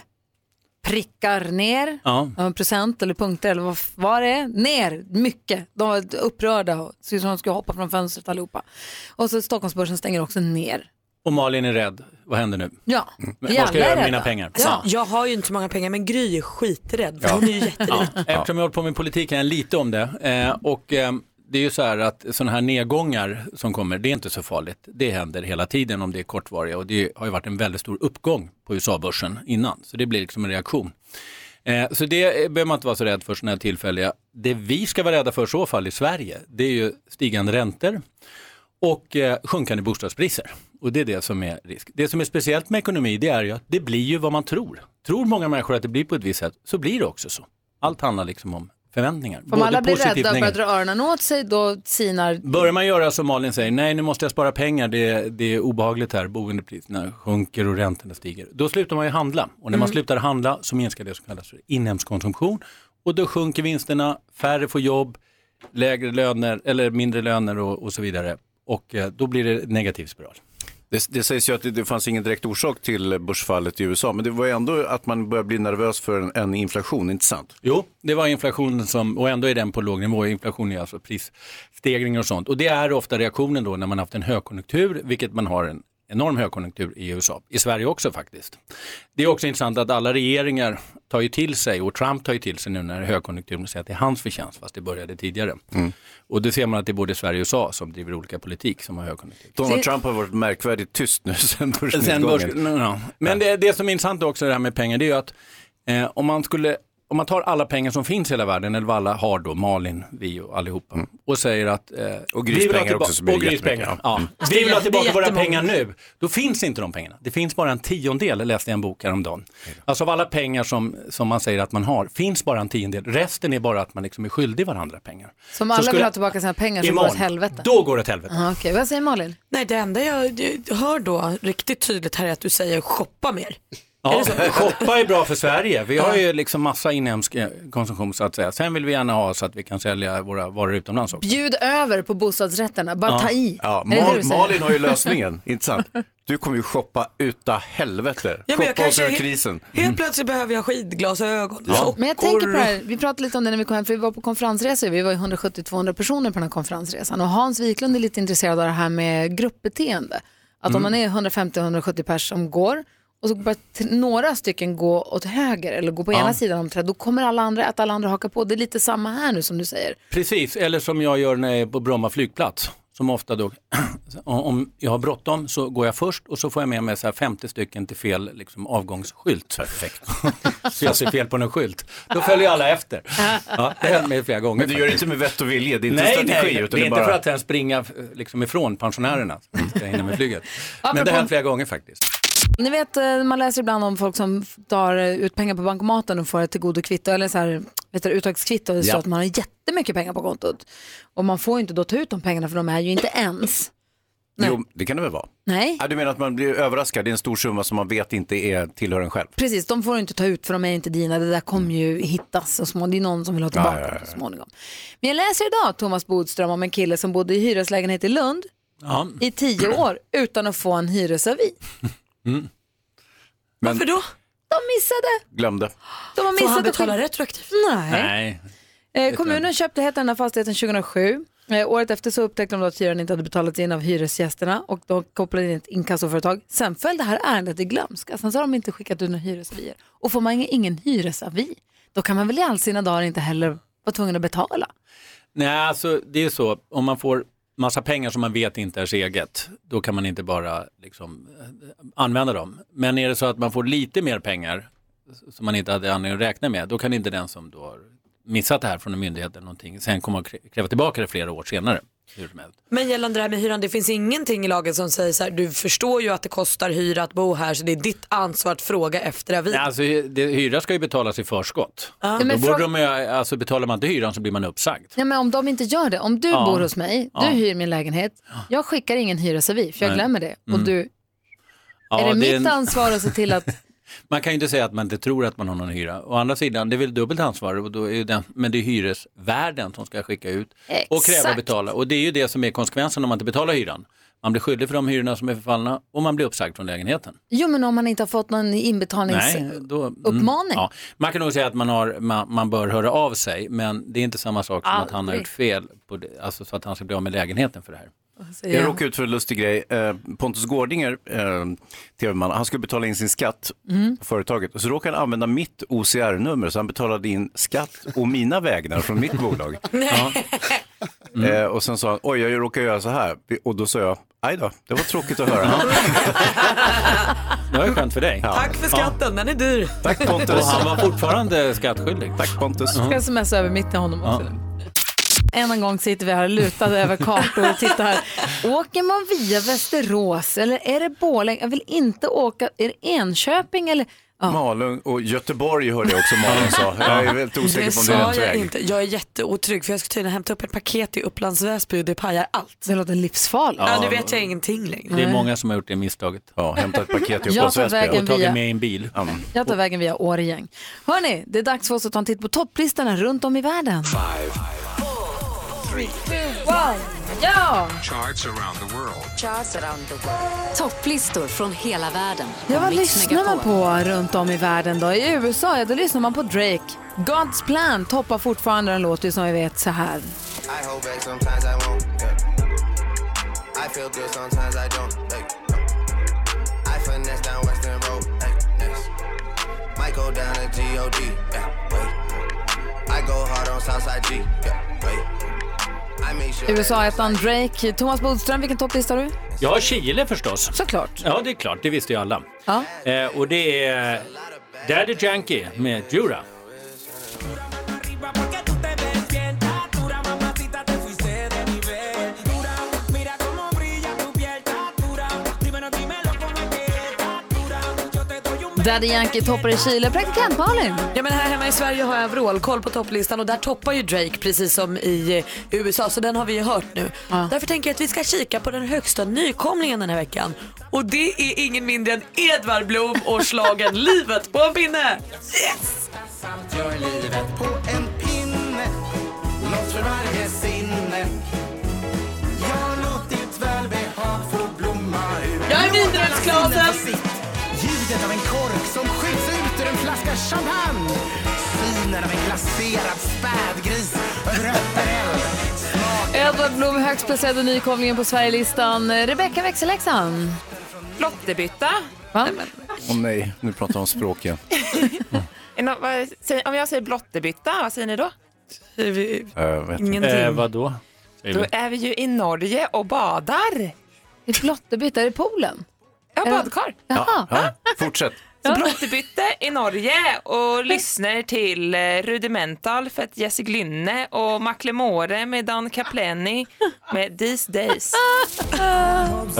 Speaker 1: prickar ner,
Speaker 7: Ja.
Speaker 1: ja. procent eller punkter eller vad f- vad det är, ner mycket. De var upprörda och såg ut som de skulle hoppa från fönstret allihopa. Och så Stockholmsbörsen stänger också ner.
Speaker 7: Och Malin är rädd. Vad händer nu?
Speaker 1: Ja,
Speaker 7: Mm. Vad
Speaker 1: vi
Speaker 7: ska jag
Speaker 1: alla är
Speaker 7: göra med
Speaker 1: rädda.
Speaker 7: mina pengar?
Speaker 2: Alltså, jag har ju inte så många pengar men Gry är skiträdd.
Speaker 7: Ja.
Speaker 2: Hon är ju jätterik.
Speaker 7: Ja. Eftersom jag har hållit Eh, på med politik kan jag lite om det. Eh, och eh, det är ju så här att sådana här nedgångar som kommer, det är inte så farligt. Det händer hela tiden om det är kortvariga och det har ju varit en väldigt stor uppgång på USA-börsen innan. Så det blir liksom en reaktion. Eh, så det eh, behöver man inte vara så rädd för sådana här tillfälliga. Det vi ska vara rädda för i så fall i Sverige, det är ju stigande räntor och eh, sjunkande bostadspriser. Och det är det som är risk. Det som är speciellt med ekonomi det är ju att det blir ju vad man tror. Tror många människor att det blir på ett visst sätt så blir det också så. Allt handlar liksom om förväntningar.
Speaker 1: Om alla blir
Speaker 7: positivt och
Speaker 1: rädda och börjar
Speaker 7: negativt.
Speaker 1: dra öronen åt sig då sinar
Speaker 7: Börjar man göra som Malin säger, nej nu måste jag spara pengar, det, det är obehagligt här, boendepriserna sjunker och räntorna stiger. Då slutar man ju handla och när man
Speaker 14: Mm.
Speaker 7: slutar handla så minskar det som kallas för inhemsk konsumtion och då sjunker vinsterna, färre får jobb, lägre löner eller mindre löner och, och så vidare och eh, då blir det negativ spiral.
Speaker 3: Det, det sägs ju att det, det fanns ingen direkt orsak till börsfallet i USA, men det var ju ändå att man började bli nervös för en, en inflation, inte sant?
Speaker 7: Jo, det var inflationen som, och ändå är den på låg nivå. Inflation är alltså prisstegringar och sånt. Och det är ofta reaktionen då när man haft en högkonjunktur, vilket man har en enorm högkonjunktur i USA, i Sverige också faktiskt. Det är också intressant att alla regeringar tar ju till sig, och Trump tar ju till sig nu när högkonjunkturen säger att det är hans förtjänst, fast det började tidigare. Och det ser man att det är både Sverige och USA som driver olika politik som har högkonjunktur.
Speaker 3: Donald Trump har varit märkvärdigt tyst nu sen
Speaker 7: Sen
Speaker 3: börsnedgången.
Speaker 7: börs, no, no. Men det, det som är intressant också det här med pengar det är ju att eh, om man skulle om man tar alla pengar som finns i hela världen, eller vad alla har då, Malin, vi och allihopa, och säger att... Eh, och
Speaker 3: grispengar också, så blir det
Speaker 7: och grispengar.
Speaker 3: jättemycket.
Speaker 7: Ja.
Speaker 3: Mm.
Speaker 7: Vi vill
Speaker 3: Det
Speaker 7: ha
Speaker 3: är
Speaker 7: tillbaka våra
Speaker 3: jättemånga.
Speaker 7: pengar nu. eh, Då finns inte de pengarna. Det finns bara en tiondel, läste jag en bok häromdagen. Alltså av alla pengar som, som man säger att man har, finns bara en tiondel. Resten är bara att man liksom är skyldig varandra pengar.
Speaker 1: Så om
Speaker 7: Så
Speaker 1: alla
Speaker 7: skulle-
Speaker 1: vill ha tillbaka sina pengar så går det åt helvete.
Speaker 7: Då går det åt helvete.
Speaker 1: Ja, Okej, vad säger Malin?
Speaker 2: Nej, det enda jag jag hör då riktigt tydligt här är att du säger shoppa mer.
Speaker 7: Ja, shoppa är bra för Sverige. Vi har ju liksom massa inhemsk eh, konsumtion så att säga. Sen vill vi gärna ha så att vi kan sälja våra varor utomlands också.
Speaker 1: Bjud över på bostadsrätterna, bara ta i.
Speaker 3: Ja,
Speaker 1: Är det det
Speaker 3: Mal,
Speaker 1: du säger?
Speaker 3: Malin har ju lösningen, inte sant? Du kommer ju shoppa uta helvete.
Speaker 2: Ja, men jag
Speaker 3: shoppa oss
Speaker 2: kanske
Speaker 3: ur
Speaker 2: helt-
Speaker 3: krisen. Mm.
Speaker 2: Helt plötsligt behöver jag skidglasögon.
Speaker 3: Ja.
Speaker 2: sockor.
Speaker 1: Men jag tänker på det här, vi pratade lite om det när vi kom hem, för vi var på konferensresor, vi var ju 170-200 personer på den här konferensresan och Hans Wiklund är lite intresserad av det här med gruppbeteende. Att om
Speaker 13: Mm.
Speaker 1: man är 150-170 pers som går och så börjar t- några stycken gå åt höger eller gå på
Speaker 7: Ja.
Speaker 1: ena sidan om träd, då kommer alla andra, att alla andra hakar på. Det är lite samma här nu som du säger.
Speaker 7: Precis, eller som jag gör när jag är på Bromma flygplats. Som ofta då, om jag har bråttom så går jag först och så får jag med mig så här 50 stycken till fel liksom, avgångsskylt. Perfekt. så jag ser fel på någon skylt. Då följer alla efter. Ja, det har hänt mig flera gånger.
Speaker 3: Men du gör det
Speaker 7: faktiskt.
Speaker 3: inte med vett och vilja, det är inte
Speaker 7: nej,
Speaker 3: en strategi.
Speaker 7: Nej,
Speaker 3: utan
Speaker 7: det är inte
Speaker 3: bara...
Speaker 7: för att sen springa eh, liksom, ifrån pensionärerna. som inte hinner med flyget. Men det
Speaker 1: Apropå-
Speaker 7: har hänt flera gånger faktiskt.
Speaker 1: Ni vet, eh, man läser ibland om folk som f- tar eh, ut pengar på bankomaten och får ett tillgodokvitto eller så här, vet du, uttagskvitto. Det står
Speaker 13: Ja.
Speaker 1: att man har jättemycket pengar på kontot. Och man får ju inte då ta ut de pengarna för de är ju inte ens.
Speaker 3: Jo, det kan det väl vara?
Speaker 1: Nej.
Speaker 3: Ja, du menar att man blir överraskad, det är en stor summa som man vet inte är, tillhör en själv?
Speaker 1: Precis, de får du inte ta ut för de är ju inte dina. Det där kommer ju hittas så småningom. Det är någon som vill ha tillbaka
Speaker 3: Ja, ja, ja.
Speaker 1: dem så småningom. Men jag läser idag Thomas Bodström om en kille som bodde i hyreslägenhet i Lund
Speaker 7: Ja.
Speaker 1: i tio år utan att få en hyresavi.
Speaker 3: Men
Speaker 2: Varför då?
Speaker 1: De missade.
Speaker 3: glömde.
Speaker 1: De har
Speaker 2: Får
Speaker 1: missat
Speaker 2: han
Speaker 1: att
Speaker 2: betala
Speaker 1: skicka-
Speaker 2: retroaktivt?
Speaker 1: Nej. Eh, kommunen köpte heta den här fastigheten 2007. Eh, året efter så upptäckte de då att hyran inte hade betalats in av hyresgästerna och de kopplade in ett inkassoföretag. Sen föll det här ärendet i glömska. Sen så har de inte skickat ut några hyresavier. Och får man ingen- ingen hyresavi, då kan man väl i all sina dagar inte heller vara tvungen att betala.
Speaker 7: Nej, alltså det är så, om man får massa pengar som man vet inte är ens eget, då kan man inte bara liksom, eh, använda dem. Men är det så att man får lite mer pengar s- som man inte hade anledning att räkna med, då kan inte den som då har missat det här från en myndighet eller någonting, sen komma och krä- kräva tillbaka det flera år senare. Hur som helst.
Speaker 2: Men gällande det här med hyran, det finns ingenting i lagen som säger så här, du förstår ju att det kostar hyra att bo här så det är ditt ansvar att fråga efter avi.
Speaker 7: Nej, alltså, det, hyra ska ju betalas i förskott.
Speaker 1: Ja,
Speaker 7: Då
Speaker 1: men
Speaker 7: borde
Speaker 1: fråga-
Speaker 7: de, ju- alltså, betalar man inte hyran så blir man uppsagd.
Speaker 1: Nej, men om de inte gör det, om du
Speaker 7: Ja.
Speaker 1: bor hos mig, du
Speaker 7: Ja.
Speaker 1: hyr min lägenhet, jag skickar ingen hyresavi för jag
Speaker 7: Nej.
Speaker 1: glömmer det. Och
Speaker 7: Mm.
Speaker 1: du,
Speaker 7: Ja,
Speaker 1: är det,
Speaker 7: är
Speaker 1: mitt
Speaker 7: en-
Speaker 1: ansvar att se till att
Speaker 7: Man kan ju inte säga att man inte tror att man har någon hyra. Å andra sidan, det är väl dubbelt ansvar, och då är ju den, men det är hyresvärden som ska skicka ut och kräva
Speaker 1: Exakt.
Speaker 7: och betala. Och det är ju det som är konsekvensen om man inte betalar hyran. Man blir skyldig för de hyrorna som är förfallna och man blir uppsagd från lägenheten.
Speaker 1: Jo, men om man inte har fått någon inbetalnings...
Speaker 7: Nej, då, mm,
Speaker 1: uppmaning.
Speaker 7: Ja. Man kan nog säga att man, har, man, man bör höra av sig, men det är inte samma sak som att han har
Speaker 1: Aldrig.
Speaker 7: gjort fel, på det, alltså så att han ska bli av med lägenheten för det här.
Speaker 1: eh,
Speaker 3: Jag råkade ut för en lustig grej. Eh, Pontus Gårdinger, eh, tv-man, han skulle betala in sin skatt
Speaker 1: Mm.
Speaker 3: på företaget. Och så råkade han använda mitt OCR-nummer, så han betalade in skatt och mina vägnar från mitt bolag. Ja.
Speaker 7: Mm.
Speaker 3: Eh, och sen sa han, oj, jag råkar göra så här. Och då sa jag, aj då, det var tråkigt att höra.
Speaker 7: Det var ju skönt för dig.
Speaker 2: Tack för skatten, den är dyr.
Speaker 3: Tack Pontus.
Speaker 7: Och han var fortfarande skattskyldig.
Speaker 3: Tack Pontus.
Speaker 1: ska smsa över mitt till honom också.
Speaker 7: Ja.
Speaker 1: Än en gång sitter vi här lutade över kartor och tittar. Åker man via Västerås eller är det Borlänge? Jag vill inte åka. Är det Enköping eller?
Speaker 3: Malung och Göteborg hörde jag också Malung sa. Jag är väldigt osäker
Speaker 2: Det
Speaker 3: på om det är
Speaker 2: sa
Speaker 3: rätt
Speaker 2: jag
Speaker 3: väg.
Speaker 2: inte. Jag är jätteotrygg för jag ska tydligen hämta upp ett paket i Upplands Väsby och det pajar allt.
Speaker 1: Det låter livsfarligt.
Speaker 2: Ja,
Speaker 7: Ja.
Speaker 2: nu vet jag ingenting längre.
Speaker 7: Det är många som har gjort det misstaget.
Speaker 3: Ja, hämtat paket
Speaker 1: i Jag tar Upplands Väsby. vägen
Speaker 7: Och tagit
Speaker 1: via-
Speaker 7: med i en bil. Mm.
Speaker 1: Jag tar vägen via Årjäng. Hörni, det är dags för oss att ta en titt på topplistorna runt om i världen. Ja!
Speaker 14: Charts around the world.
Speaker 10: Topplistor från hela världen.
Speaker 1: Ja,
Speaker 10: på
Speaker 1: vad
Speaker 10: Mix
Speaker 1: lyssnar man
Speaker 10: Megapol.
Speaker 1: på runt om i världen då? I USA, ja, då lyssnar man på Drake. God's Plan toppar fortfarande, den låter ju som vi vet så här.
Speaker 15: I hold back sometimes I won't. yeah. I feel good sometimes I don't. like, no. I finesse down Western Road. like, yes. Might go down to G.O.D. yeah, wait. I go hard on Southside G. Yeah, wait. I make sure.
Speaker 1: USA-ettan Drake. Thomas Bodström, vilken topplista har du?
Speaker 7: Ja, Chile förstås.
Speaker 1: Såklart.
Speaker 7: Ja, det är klart. Det visste ju alla.
Speaker 1: Ja.
Speaker 7: Eh, och det är Daddy Yankee med Jura.
Speaker 13: arriba porque tú te ves bien. Tatura, mamacita, te fuiste de nivel. Dura, mira cómo brilla tu piel. Tatura, dímelo, dímelo cómo es que es. Tatura, yo te doy un
Speaker 1: Daddy Yankee toppar i Chile. Praktikant Malin.
Speaker 2: Ja, men här hemma i Sverige har jag vrålkoll på topplistan och där toppar ju Drake precis som i eh, USA så den har vi ju hört nu. Därför tänker jag att vi ska kika på den högsta nykomlingen den här veckan. Och det är ingen mindre än Edvard Blom och slagen Livet på en pinne.
Speaker 13: Yes! Samt gör livet på en pinne Något för varje sinne Jag har låtit välbehag få blomma ur
Speaker 2: Jag är Vindelälvsklasen.
Speaker 13: Låtarna sitt. Ljudet av en kork som skjuts ut ur en flaska champagne Synen av en glaserad spädgris över öppen eld
Speaker 1: Edvard Blom, högst placerade nykomlingen på Sverigelistan. Rebecka växelläxan.
Speaker 14: Flottebytta.
Speaker 1: Va?
Speaker 7: Åh nej, nu pratar jag om språk igen.
Speaker 3: Eh,
Speaker 14: Är nå- vad säger- Om jag säger blottebytta, vad säger ni då?
Speaker 7: Jag vet inte.
Speaker 14: Ingenting.
Speaker 7: Eh, vadå? Säger
Speaker 14: Då
Speaker 7: vi.
Speaker 14: är vi ju i Norge och badar.
Speaker 1: I blottebytta, är det poolen?
Speaker 14: Ja, badkar.
Speaker 7: Ja, ja, fortsätt.
Speaker 14: Så blottebytte i Norge och lyssnar till eh, Rudimental för att Jesse Glynne och Macklemore med Dan Capleni med These Days.
Speaker 13: Sit down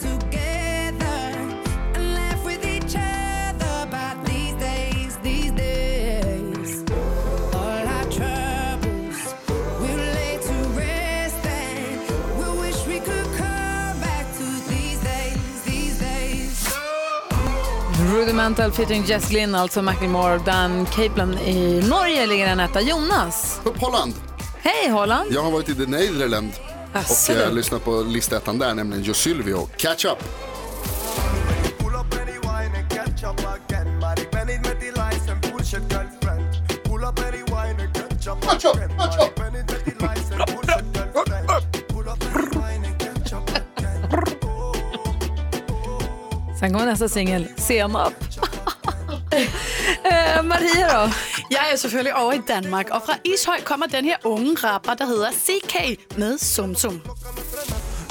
Speaker 13: together and laugh with each other about these days, these days. All our troubles we'll lay to rest and we wish we could come back to these days, these days.
Speaker 1: Rudimental featuring Jess Glynn, alltså Macklemore och Dan Caplan i Norge ligger en etta. Jonas.
Speaker 6: Upp Holland.
Speaker 1: Hej Holland.
Speaker 6: Jag har varit i The Nederland och
Speaker 1: Asså.
Speaker 6: eh, lyssnat på listettan där, nämligen Joe Sylvio, Catch Up.
Speaker 1: Sen kommer nästa singel, Senap. eh, Maria då?
Speaker 16: Jeg er selvfølgelig over i Danmark, og fra Ishøj kommer den her unge rapper, der hedder CK med Sum Sum.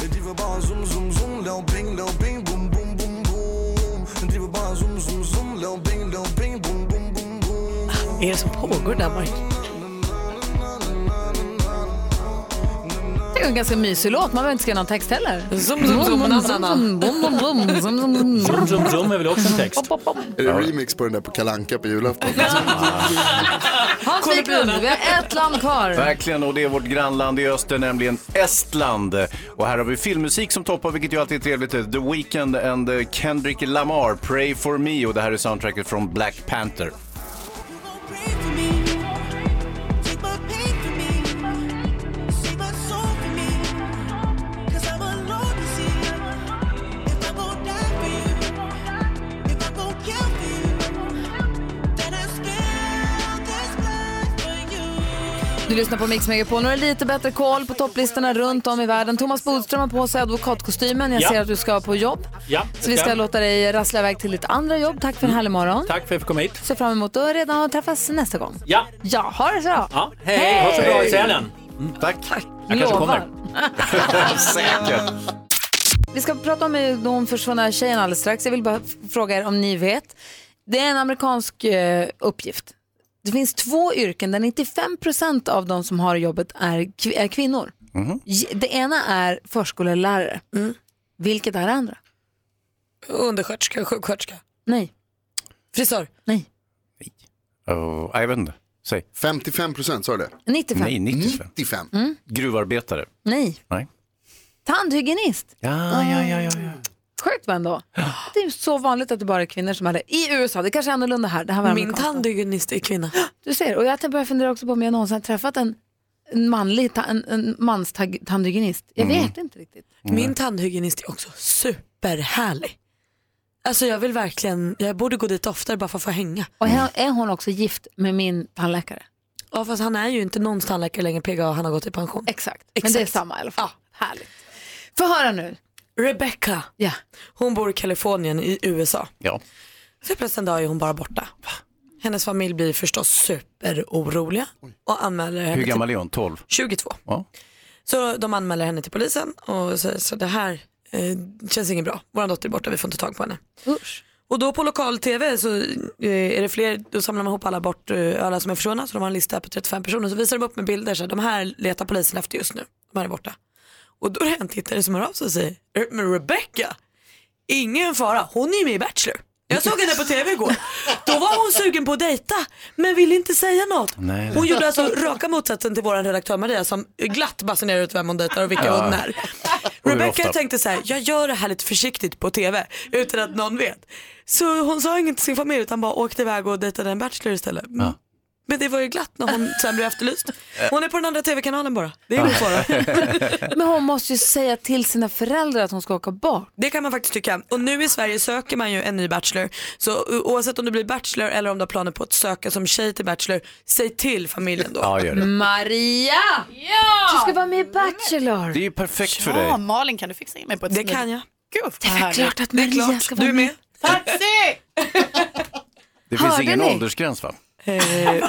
Speaker 13: Den driver bare zoom, zoom, zoom, lav bing, lav bing, boom, boom, boom, boom. Den driver bare zoom, zoom, zoom, lav bing, lav bing, boom, boom, boom, boom.
Speaker 16: Hvad er det, som pågår i Danmark?
Speaker 1: Det är en ganska mysig låt, man behöver inte skriva någon text heller.
Speaker 2: Zum, zum,
Speaker 1: Bom,
Speaker 2: zum, banana.
Speaker 1: bom, bom, bom, bom, zum, zum, zum.
Speaker 7: Zum, zum, zum är väl också en text?
Speaker 6: Är det remix på den där på Kalanka på julafton?
Speaker 1: Hans Wiklund, vi har ett land kvar.
Speaker 3: Verkligen, och det är vårt grannland i öster, nämligen Estland. Och här har vi filmmusik som toppar, vilket ju alltid är trevligt. The Weeknd and eh, Kendrick Lamar, Pray for me. Och det här är soundtracket från Black Panther.
Speaker 1: Du lyssnar på Mix Megapol. Nu har du lite bättre koll på topplistorna runt om i världen. Thomas Bodström har på sig advokatkostymen. Jag
Speaker 7: Ja.
Speaker 1: ser att du ska på jobb.
Speaker 7: Ja,
Speaker 1: Så vi ska låta dig rassla iväg till ditt andra jobb. Tack för en härlig morgon.
Speaker 7: Tack för att jag fick komma hit.
Speaker 1: Ser fram emot att redan träffas nästa gång.
Speaker 7: Ja.
Speaker 1: Ja, ha det så bra.
Speaker 7: Ja, hej, hej. Ha så bra i Sälen.
Speaker 3: Tack.
Speaker 7: Jag kanske
Speaker 1: Lovar.
Speaker 7: kommer. Säkert.
Speaker 1: Vi ska prata om eh, de försvunna tjejerna alldeles strax. Jag vill bara f- fråga er om ni vet. Det är en amerikansk eh, uppgift. Det finns två yrken där 95 av de som har jobbet är, kv- är kvinnor. J- Det ena är förskollärare.
Speaker 2: Mm.
Speaker 1: Vilket är det andra?
Speaker 2: Undersköterska, sjuksköterska.
Speaker 1: Nej.
Speaker 2: Frisör.
Speaker 1: Nej.
Speaker 3: Oh, jag vet inte. Säg.
Speaker 6: 55 procent, sa du det?
Speaker 1: 95.
Speaker 3: Nej, 95.
Speaker 6: 95.
Speaker 1: Mm.
Speaker 3: Gruvarbetare.
Speaker 1: Nej.
Speaker 3: Nej.
Speaker 1: Tandhygienist.
Speaker 3: Ja, ja, ja, ja.
Speaker 1: Sjukt va ändå? Det är ju så vanligt att det bara är kvinnor som har det. I USA, det kanske är annorlunda här. Det här var
Speaker 2: Min
Speaker 1: amerikanskt.
Speaker 2: tandhygienist är kvinna.
Speaker 1: Du ser, och jag börjar fundera också på om jag någonsin har träffat en, en manlig, ta, en, en mans tag- tandhygienist. Jag
Speaker 2: Mm.
Speaker 1: vet inte riktigt.
Speaker 2: Min tandhygienist är också superhärlig. Alltså jag vill verkligen, jag borde gå dit oftare bara för att få hänga.
Speaker 1: Och här är hon också gift med min tandläkare.
Speaker 2: Ja fast han är ju inte någons tandläkare längre PGA, han har gått i pension.
Speaker 1: Exakt, men det är samma i alla fall. Härligt. Få höra nu.
Speaker 2: Rebecca, hon bor i Kalifornien i USA.
Speaker 3: Ja.
Speaker 2: Så plötsligt en dag är hon bara borta. Hennes familj blir förstås superoroliga och anmäler henne
Speaker 3: Hur
Speaker 2: till
Speaker 3: gammal är hon? 12?
Speaker 2: 22.
Speaker 3: Ja.
Speaker 2: Så de anmäler henne till polisen och säger så det här eh, känns inget bra. Vår dotter är borta, vi får inte tag på henne. Och då på lokal-tv så eh, är det fler, då samlar man ihop alla bort eh, alla som är försvunna, så de har en lista på 35 personer. Så visar de upp med bilder, så här, de här letar polisen efter just nu, de här är borta. Och då är det en tittare som hör av sig och säger, "Är det med Rebecca? Ingen fara, hon är ju med i Bachelor. Jag såg henne på tv igår. Då var hon sugen på att dejta men ville inte säga något.
Speaker 13: Nej.
Speaker 2: Hon gjorde alltså raka motsatsen till vår redaktör Maria som glatt basunerar ut vem hon dejtar och vilka
Speaker 13: Ja.
Speaker 2: hon är.
Speaker 13: hur
Speaker 2: Rebecca
Speaker 13: ofta?
Speaker 2: tänkte så här, jag gör det här lite försiktigt på tv utan att någon vet. Så hon sa inget till sin familj utan bara åkte iväg och dejtade en bachelor istället.
Speaker 13: Ja.
Speaker 2: Men det var ju glatt när hon sen blev efterlyst. Hon är på den andra tv-kanalen bara. Det är ingen fara.
Speaker 1: Men hon måste ju säga till sina föräldrar att hon ska åka bort.
Speaker 2: Det kan man faktiskt tycka. Och nu i Sverige söker man ju en ny Bachelor. Så o- oavsett om du blir Bachelor eller om du har planer på att söka som tjej till Bachelor, säg till familjen då.
Speaker 3: Ja, gör det.
Speaker 1: Maria!
Speaker 16: Ja!
Speaker 1: Du ska vara med i Bachelor.
Speaker 3: Det är ju perfekt för
Speaker 16: Ja,
Speaker 3: dig.
Speaker 16: Malin kan du fixa in mig på ett
Speaker 2: Det kan jag.
Speaker 16: Gud,
Speaker 1: Det är klart att Maria ska vara
Speaker 2: Du är med.
Speaker 16: Taxi!
Speaker 3: Det finns
Speaker 1: Hörde
Speaker 3: ingen
Speaker 1: ni?
Speaker 3: åldersgräns va?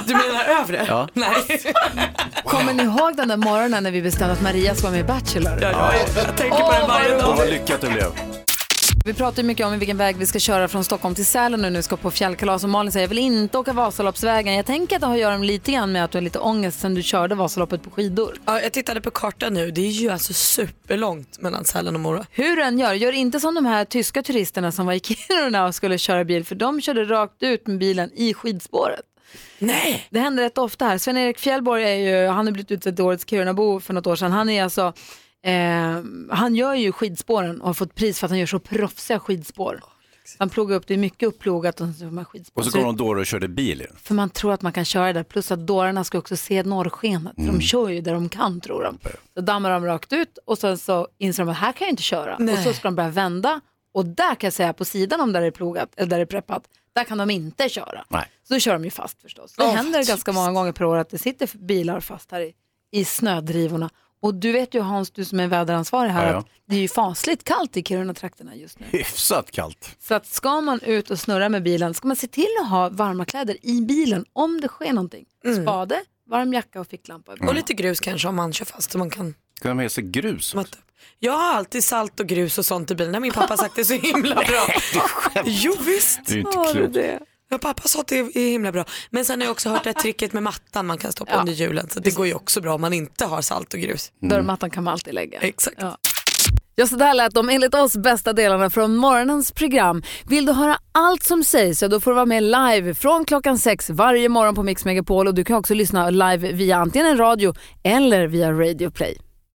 Speaker 2: du menar övre?
Speaker 3: Ja.
Speaker 2: Nej.
Speaker 1: Kommer ni ihåg den där morgonen när vi bestämde att Maria ska vara med i Bachelor?
Speaker 2: Jag tänker på den varje
Speaker 3: Och
Speaker 2: dag.
Speaker 3: vad lyckat det blev.
Speaker 1: Vi pratar ju mycket om vilken väg vi ska köra från Stockholm till Sälen nu när vi ska på fjällkalas och Malin säger jag vill inte åka Vasaloppsvägen. Jag tänker att det har att göra med lite grann med att du har lite ångest sen du körde Vasaloppet på skidor.
Speaker 2: Ja, jag tittade på kartan nu. Det är ju alltså superlångt mellan Sälen och Mora.
Speaker 1: Hur du än gör, gör inte som de här tyska turisterna som var i Kiruna och skulle köra bil för de körde rakt ut med bilen i skidspåret.
Speaker 2: Nej!
Speaker 1: Det händer rätt ofta här. Sven-Erik Fjällborg är ju, han har blivit utsedd till årets Kirunabo för något år sedan. Han är alltså, eh, han gör ju skidspåren och har fått pris för att han gör så proffsiga skidspår. Han plogar upp, det är mycket upplogat och så gör man skidspår.
Speaker 3: Och så går de då och körde bil. igen.
Speaker 1: För man tror att man kan köra där, plus att dårarna ska också se norrskenet.
Speaker 3: Mm.
Speaker 1: för De kör ju där de kan tror de. Så dammar de rakt ut och sen så inser de att här kan jag inte köra.
Speaker 13: Nej.
Speaker 1: Och så ska de börja vända och där kan jag säga på sidan om där det är plogat, eller där det är preppat, där kan de inte köra.
Speaker 13: Nej.
Speaker 1: Så då kör de ju fast förstås. Det
Speaker 13: Åh,
Speaker 1: händer
Speaker 13: typiskt.
Speaker 1: ganska många gånger per år att det sitter bilar fast här i, i snödrivorna. Och du vet ju Hans, du som är väderansvarig här,
Speaker 3: Ja, ja.
Speaker 1: att det är ju fasligt kallt i Kiruna-trakterna just nu.
Speaker 3: Hyfsat kallt.
Speaker 1: Så att ska man ut och snurra med bilen ska man se till att ha varma kläder i bilen om det sker någonting. Spade, varm jacka och ficklampa.
Speaker 2: Och lite grus kanske om man kör fast så man kan
Speaker 3: Ska de ha med sig grus? också?
Speaker 2: Jag har alltid salt och grus och sånt i bilen. Min pappa har sagt det är så himla bra. jo visst.
Speaker 13: Det är inte
Speaker 2: Har du
Speaker 13: klokt.
Speaker 2: det? Ja, pappa sa att det är himla bra. Men sen har jag också hört det här tricket med mattan man kan stoppa
Speaker 1: Ja.
Speaker 2: under hjulen. Så det går ju också bra om man inte har salt och grus.
Speaker 1: Dörrmattan kan man alltid lägga.
Speaker 2: Exakt.
Speaker 1: Ja. Ja, så där lät de enligt oss bästa delarna från morgonens program. Vill du höra allt som sägs så då får du vara med live från klockan sex varje morgon på Mix Megapol och du kan också lyssna live via antingen en radio eller via Radio Play.